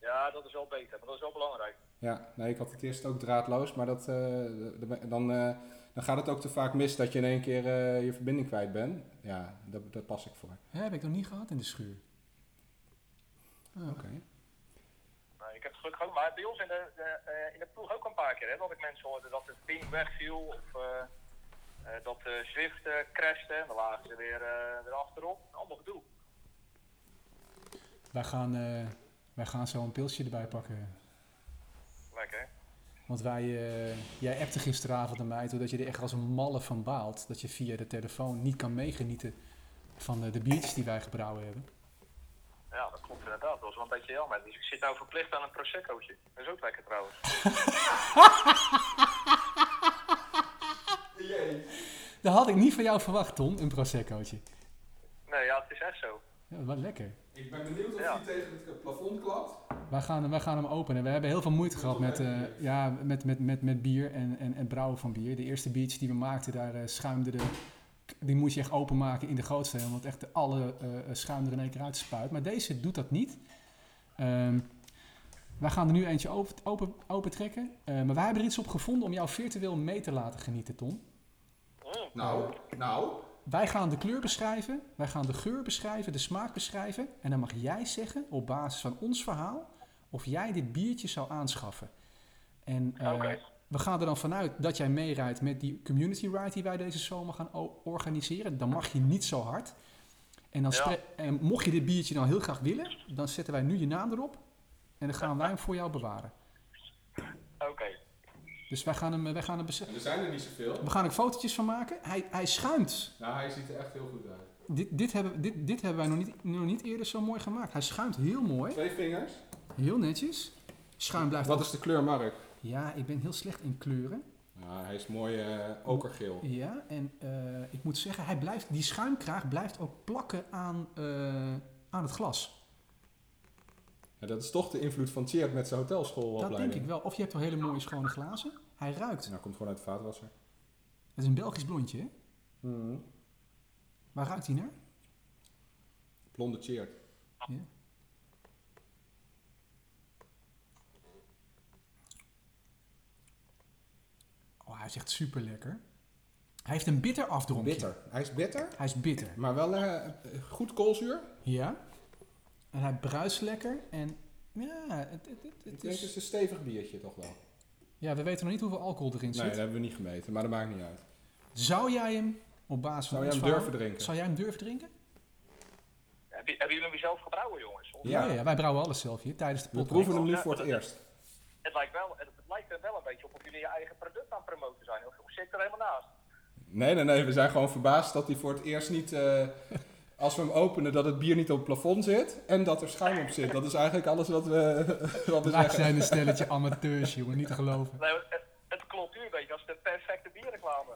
[SPEAKER 5] Ja, dat is wel beter, maar dat is wel belangrijk.
[SPEAKER 2] Ja, nee, ik had het eerst ook draadloos, maar dat, eh, d- d- dan, eh, dan gaat het ook te vaak mis dat je in één keer eh, je verbinding kwijt bent. Ja, daar, daar pas ik voor.
[SPEAKER 1] Hè, heb ik nog niet gehad in de schuur. Ah,
[SPEAKER 2] Oké.
[SPEAKER 5] Nou, ik heb het gelukkig ook, maar bij ons in de, de, eh, in de ploeg ook een paar keer hè, dat ik mensen hoorde dat de ping wegviel of eh, eh, dat de Zwift eh, crashte en dan lagen ze weer, eh, weer achterop. Allemaal gedoe.
[SPEAKER 1] Wij gaan, eh, wij gaan zo een pilsje erbij pakken.
[SPEAKER 5] Lekker.
[SPEAKER 1] Want wij, eh, jij appte gisteravond aan mij toe dat je er echt als een malle van baalt. Dat je via de telefoon niet kan meegenieten van eh, de biertjes die wij gebrouwen hebben.
[SPEAKER 5] Ja, dat klopt inderdaad. Dat is wel een beetje jammer. Dus ik zit nou verplicht aan een proseccootje. Dat is ook lekker trouwens.
[SPEAKER 1] Dat had ik niet van jou verwacht, Tom, een proseccootje.
[SPEAKER 5] Nee, ja, het is echt zo.
[SPEAKER 1] Ja, wat lekker.
[SPEAKER 7] Ik ben benieuwd of
[SPEAKER 5] Ja.
[SPEAKER 7] hij tegen het plafond klapt.
[SPEAKER 1] Wij gaan, wij gaan hem openen. We hebben heel veel moeite gehad met, eh, ja, met, met, met, met bier en, en, en brouwen van bier. De eerste biertjes die we maakten, daar eh, schuimde de... Die moest je echt openmaken in de gootsteen, want echt alle eh schuim er in één keer uit spuit. Maar deze doet dat niet. Ehm, wij gaan er nu eentje open, open, open trekken. Eh, maar wij hebben er iets op gevonden om jou virtueel mee te laten genieten, Tom.
[SPEAKER 5] Mm.
[SPEAKER 7] Nou, nou.
[SPEAKER 1] Wij gaan de kleur beschrijven, wij gaan de geur beschrijven, de smaak beschrijven. En dan mag jij zeggen, op basis van ons verhaal, of jij dit biertje zou aanschaffen. En eh,
[SPEAKER 5] Oké.
[SPEAKER 1] we gaan er dan vanuit dat jij meerijdt met die community ride die wij deze zomer gaan o- organiseren. Dan mag je niet zo hard. En, dan
[SPEAKER 5] Ja.
[SPEAKER 1] spre- en mocht je dit biertje dan heel graag willen, dan zetten wij nu je naam erop. En dan gaan wij hem voor jou bewaren.
[SPEAKER 5] Oké.
[SPEAKER 1] Dus wij gaan hem, eh, wij gaan hem bes-
[SPEAKER 7] Er zijn er niet zoveel.
[SPEAKER 1] we gaan er fotootjes van maken. Hij, hij schuimt.
[SPEAKER 7] Nou, hij ziet er echt heel goed uit.
[SPEAKER 1] Dit, dit, hebben, dit, dit hebben wij nog niet, nog niet eerder zo mooi gemaakt. Hij schuimt heel mooi.
[SPEAKER 2] Twee vingers.
[SPEAKER 1] Heel netjes. Schuim blijft...
[SPEAKER 2] Wat is de kleur, Mark?
[SPEAKER 1] Ja, ik ben heel slecht in kleuren.
[SPEAKER 2] Nou, hij is mooi eh, okergeel.
[SPEAKER 1] Ja, en eh, ik moet zeggen, hij blijft, die schuimkraag blijft ook plakken aan, eh, aan het glas.
[SPEAKER 2] Ja, dat is toch de invloed van Tjeerd met zijn
[SPEAKER 1] Dat
[SPEAKER 2] hotelschoolopleiding.
[SPEAKER 1] denk ik wel. Of je hebt wel hele mooie schone glazen. Hij ruikt.
[SPEAKER 2] Nou, komt gewoon uit de vaatwasser.
[SPEAKER 1] Het is een Belgisch blondje, hè? Waar ruikt hij naar?
[SPEAKER 2] Blonde Tjeerd.
[SPEAKER 1] Oh, hij is echt super lekker. Hij heeft een bitter afdronkje.
[SPEAKER 2] Bitter. Hij is bitter,
[SPEAKER 1] Hij is bitter.
[SPEAKER 2] maar wel eh, goed koolzuur.
[SPEAKER 1] Ja. En hij bruist lekker. En ja, het, het, het,
[SPEAKER 2] Ik
[SPEAKER 1] het
[SPEAKER 2] denk het
[SPEAKER 1] is...
[SPEAKER 2] is een stevig biertje toch wel.
[SPEAKER 1] ja, we weten nog niet hoeveel alcohol erin
[SPEAKER 2] Nee,
[SPEAKER 1] zit.
[SPEAKER 2] dat hebben we niet gemeten, maar dat maakt niet uit.
[SPEAKER 1] Zou jij hem op basis van
[SPEAKER 2] Zou jij
[SPEAKER 1] ons
[SPEAKER 2] hem
[SPEAKER 1] verhaal-
[SPEAKER 2] durven drinken?
[SPEAKER 1] Zou jij hem durven drinken?
[SPEAKER 5] Heb je- Hebben jullie hem zelf gebrouwen, jongens? Of-
[SPEAKER 2] Ja.
[SPEAKER 1] Ja, ja, wij brouwen alles zelf hier tijdens de
[SPEAKER 2] We
[SPEAKER 1] podcast.
[SPEAKER 2] proeven hem nu voor het eerst.
[SPEAKER 5] Het lijkt, wel, het, het lijkt er wel een beetje op of jullie je eigen product aan het promoten zijn. Of, of zit ik er helemaal naast?
[SPEAKER 2] Nee, nee, nee. We zijn gewoon verbaasd dat hij voor het eerst niet... eh, als we hem openen, dat het bier niet op het plafond zit. En dat er schuim op zit. Dat is eigenlijk alles wat we, wat we
[SPEAKER 1] Wij
[SPEAKER 2] zeggen.
[SPEAKER 1] zijn een stelletje amateurs, jongen, niet te geloven.
[SPEAKER 5] Nee, het, het klopt nu een beetje. Dat is de perfecte bierreclame.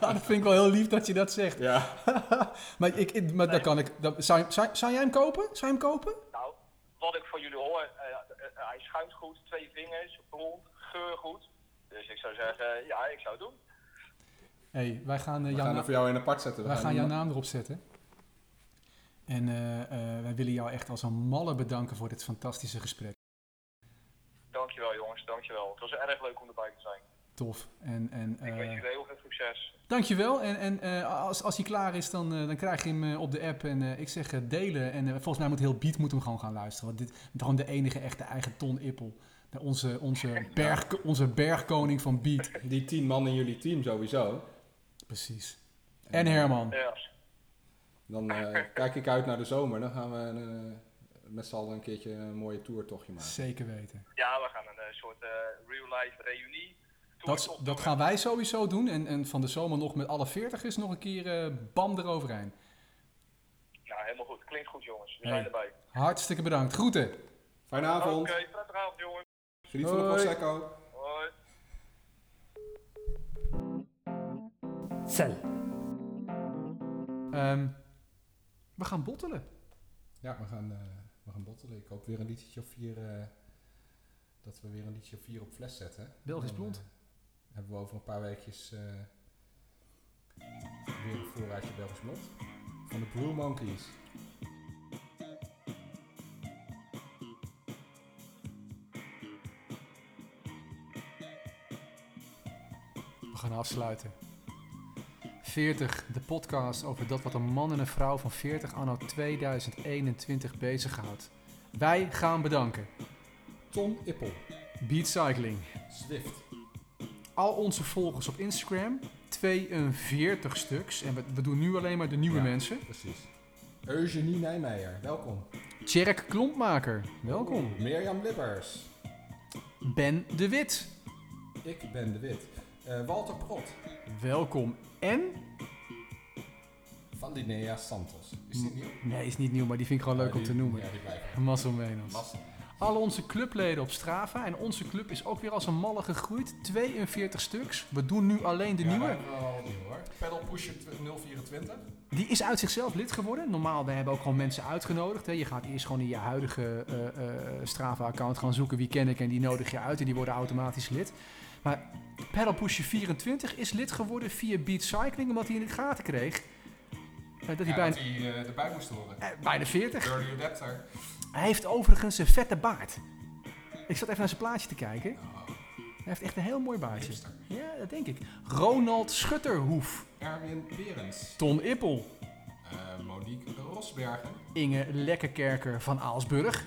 [SPEAKER 1] dat vind ik wel heel lief dat je dat zegt.
[SPEAKER 2] Ja.
[SPEAKER 1] Maar, ik, ik- maar dan kan ik. Dan, zou, je- zou, zou jij hem kopen? Zou je hem kopen?
[SPEAKER 5] Nou, wat ik van jullie hoor, eh, eh, eh, hij schuimt goed, twee vingers, blond, geur goed. Dus ik zou zeggen, ja, ik zou het doen.
[SPEAKER 1] Hé, hey, wij gaan, eh,
[SPEAKER 2] We
[SPEAKER 1] jouw,
[SPEAKER 2] gaan
[SPEAKER 1] na-
[SPEAKER 2] er voor jou in apart zetten. We
[SPEAKER 1] wij gaan jouw
[SPEAKER 2] hem-
[SPEAKER 1] naam erop zetten. En eh, eh, wij willen jou echt als een malle bedanken voor dit fantastische gesprek.
[SPEAKER 5] Dankjewel jongens, dankjewel. Het was erg leuk om erbij te zijn.
[SPEAKER 1] Tof. En, en,
[SPEAKER 5] Ik wens
[SPEAKER 1] eh,
[SPEAKER 5] jullie heel veel succes.
[SPEAKER 1] Dankjewel. En, en eh, als, als hij klaar is, dan, eh, dan krijg je hem eh, op de app. En eh, ik zeg eh, delen. En eh, volgens mij moet heel Beat moet hem gewoon gaan luisteren. Want dit dit is gewoon de enige echte eigen Ton Ippel. De- Onze, onze, berg, onze bergkoning van Beat.
[SPEAKER 2] Die tien man in jullie team sowieso.
[SPEAKER 1] Precies. En Herman.
[SPEAKER 5] Ja.
[SPEAKER 2] Dan eh, kijk ik uit naar de zomer. Dan gaan we een, eh, met z'n allen een keertje een mooie toertochtje maken.
[SPEAKER 1] Zeker weten.
[SPEAKER 5] ja, we gaan een eh, soort eh, real-life reunie.
[SPEAKER 1] Dat, dat gaan wij sowieso doen. En, en van de zomer nog met alle veertigers nog een keer eh, bam eroverheen.
[SPEAKER 5] Nou, helemaal goed. Klinkt goed, jongens. We
[SPEAKER 1] Hey.
[SPEAKER 5] zijn erbij.
[SPEAKER 1] Hartstikke bedankt. Groeten.
[SPEAKER 2] Fijne
[SPEAKER 5] Oké,
[SPEAKER 2] avond.
[SPEAKER 5] prettige avond, jongens.
[SPEAKER 2] Geniet van de
[SPEAKER 1] Hoi.
[SPEAKER 2] Prosecco.
[SPEAKER 5] Hoi.
[SPEAKER 4] Cel.
[SPEAKER 1] Ehm, we gaan bottelen.
[SPEAKER 2] Ja, we gaan, eh, we gaan bottelen. Ik hoop weer een liedje of vier. eh, dat we weer een liedje of vier op fles zetten.
[SPEAKER 1] Belgisch
[SPEAKER 2] Dan,
[SPEAKER 1] blond.
[SPEAKER 2] eh, hebben we over een paar weekjes. eh, weer een voorraadje Belgisch blond. Van de Brew Monkeys.
[SPEAKER 1] We gaan afsluiten. 40, de podcast over dat wat een man en een vrouw van 40 anno 2021 bezighoudt. Wij gaan bedanken.
[SPEAKER 2] Ton Ippel.
[SPEAKER 1] Beat Cycling.
[SPEAKER 2] Swift.
[SPEAKER 1] Al onze volgers op Instagram, 42 stuks. En we, we doen nu alleen maar de nieuwe
[SPEAKER 2] Ja.
[SPEAKER 1] mensen.
[SPEAKER 2] Precies. Eugenie Nijmeijer. Welkom.
[SPEAKER 1] Tjerk Klompmaker, welkom.
[SPEAKER 2] Mirjam Lippers.
[SPEAKER 1] Ben de Wit,
[SPEAKER 2] Ik ben de Wit. Eh, Walter Prot.
[SPEAKER 1] welkom. En,
[SPEAKER 2] Van Linnea Santos. Is die nieuw?
[SPEAKER 1] nee is niet nieuw, maar die vind ik gewoon Mm, leuk
[SPEAKER 2] Ja,
[SPEAKER 1] om te
[SPEAKER 2] die-
[SPEAKER 1] noemen.
[SPEAKER 2] Ja, die blijven.
[SPEAKER 1] Mazzel Menos.
[SPEAKER 2] Massa.
[SPEAKER 1] Al onze clubleden op Strava. En onze club is ook weer als een malle gegroeid. 42 stuks. We doen nu alleen de
[SPEAKER 2] Ja,
[SPEAKER 1] nieuwe.
[SPEAKER 2] daar hebben we al nieuw hoor. Pedal Pusher 024.
[SPEAKER 1] Die is uit zichzelf lid geworden. Normaal, we hebben ook gewoon mensen uitgenodigd. Hè. Je gaat eerst gewoon in je huidige eh, eh, Strava-account gaan zoeken wie ken ik. En die nodig je uit en die worden automatisch lid. Maar Pedal Pusher 24 is lid geworden via Beat Cycling. Omdat hij in de gaten kreeg eh, dat hij
[SPEAKER 2] ja,
[SPEAKER 1] bijna,
[SPEAKER 2] dat die eh, erbij moest horen.
[SPEAKER 1] eh, bijna 40
[SPEAKER 2] Dirty Adapter.
[SPEAKER 1] Hij heeft overigens een vette baard. Ik zat even naar zijn plaatje te kijken. Hij heeft echt een heel mooi baardje.
[SPEAKER 2] Hipster.
[SPEAKER 1] Ja, dat denk ik. Ronald Schutterhoef.
[SPEAKER 2] Erwin Berends.
[SPEAKER 1] Ton Ippel.
[SPEAKER 2] Eh, Monique Rosbergen.
[SPEAKER 1] Inge Lekkerkerker van Aalsburg.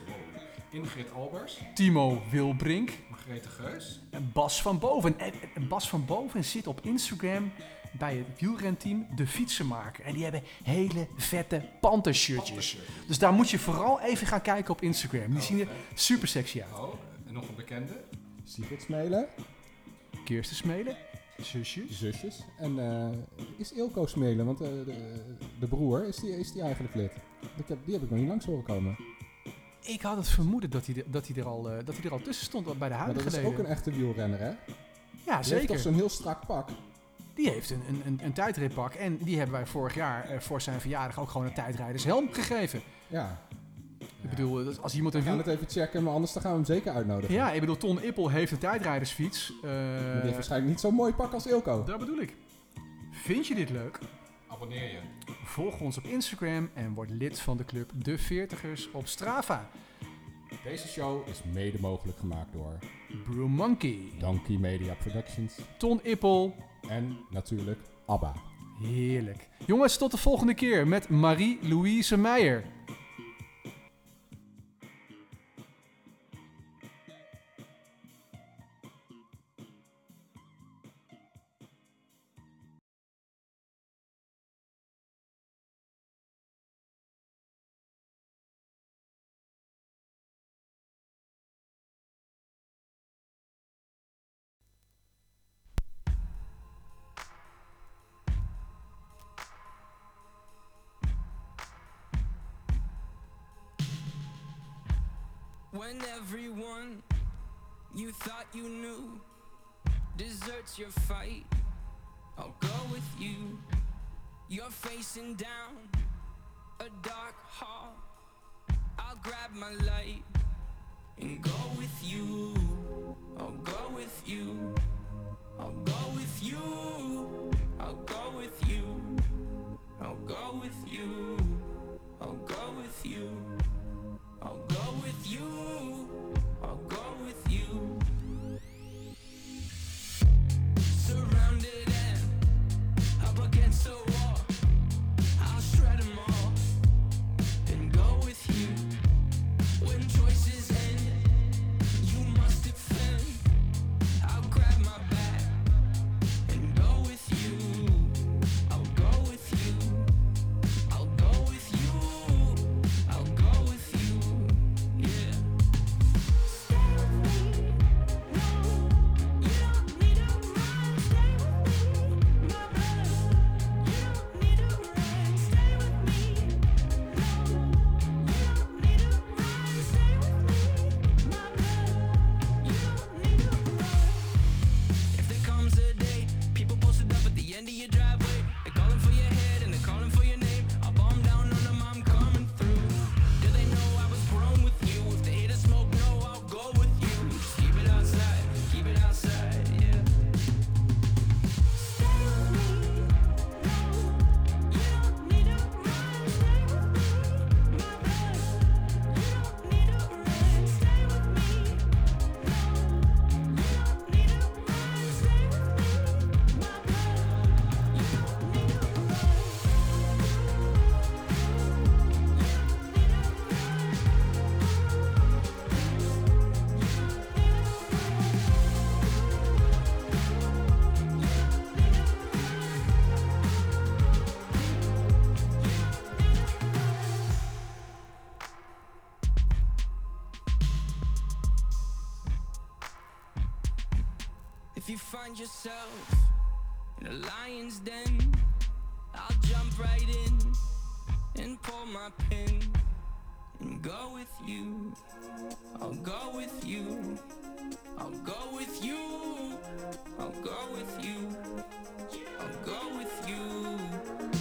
[SPEAKER 2] Ingrid Albers.
[SPEAKER 1] Timo Wilbrink.
[SPEAKER 2] Margrethe Geus.
[SPEAKER 1] En Bas van Boven. En en Bas van Boven zit op Instagram bij het wielrenteam De Fietsenmaker. En die hebben hele vette pantershirtjes. Dus daar moet je vooral even gaan kijken op Instagram. Die zien er super sexy uit.
[SPEAKER 2] Oh, en nog een bekende. Sigrid Smelen.
[SPEAKER 1] Kirsten Smelen. Zusjes.
[SPEAKER 2] Zusjes. En eh, is Ilko Smelen, want eh, de, broer, is die, is die eigenlijk lid? die heb ik nog niet langs horen komen.
[SPEAKER 1] Ik had het vermoeden dat hij, er- dat hij, er, al, eh, dat hij er al tussen stond bij de
[SPEAKER 2] Maar
[SPEAKER 1] huidige
[SPEAKER 2] dat is
[SPEAKER 1] leden.
[SPEAKER 2] ook een echte wielrenner, hè?
[SPEAKER 1] ja,
[SPEAKER 2] Die heeft toch
[SPEAKER 1] zeker.
[SPEAKER 2] zo'n heel strak pak.
[SPEAKER 1] Die heeft een, een, een, een tijdritpak. En die hebben wij vorig jaar eh, voor zijn verjaardag ook gewoon een tijdrijdershelm gegeven.
[SPEAKER 2] Ja.
[SPEAKER 1] Ik bedoel, eh, dat als iemand een
[SPEAKER 2] We gaan
[SPEAKER 1] wiel...
[SPEAKER 2] het even checken, maar anders dan gaan we hem zeker uitnodigen.
[SPEAKER 1] Ja, ik bedoel, Ton Ippel heeft een tijdrijdersfiets. Eh,
[SPEAKER 2] Maar die heeft waarschijnlijk niet zo'n mooi pak als Ilko.
[SPEAKER 1] daar bedoel ik. Vind je dit leuk?
[SPEAKER 8] Abonneer je.
[SPEAKER 1] Volg ons op Instagram en word lid van de club De Veertigers op Strava.
[SPEAKER 2] Deze show is mede mogelijk gemaakt door
[SPEAKER 1] Brew Monkey,
[SPEAKER 2] Donkey Media Productions
[SPEAKER 1] Ton Ippel,
[SPEAKER 2] en natuurlijk ABBA.
[SPEAKER 1] heerlijk. Jongens, tot de volgende keer met Marie-Louise Meijer.
[SPEAKER 9] when everyone you thought you knew deserts your fight. I'll go with you. You're facing down a dark hall. I'll grab my light and go with you. I'll go with you. I'll go with you. I'll go with you. I'll go with you. I'll go with you. I'll go with you. I'll go with you. If you find yourself in a lion's den, I'll jump right in and pull my pin and go with you. I'll go with you. I'll go with you. I'll go with you. I'll go with you.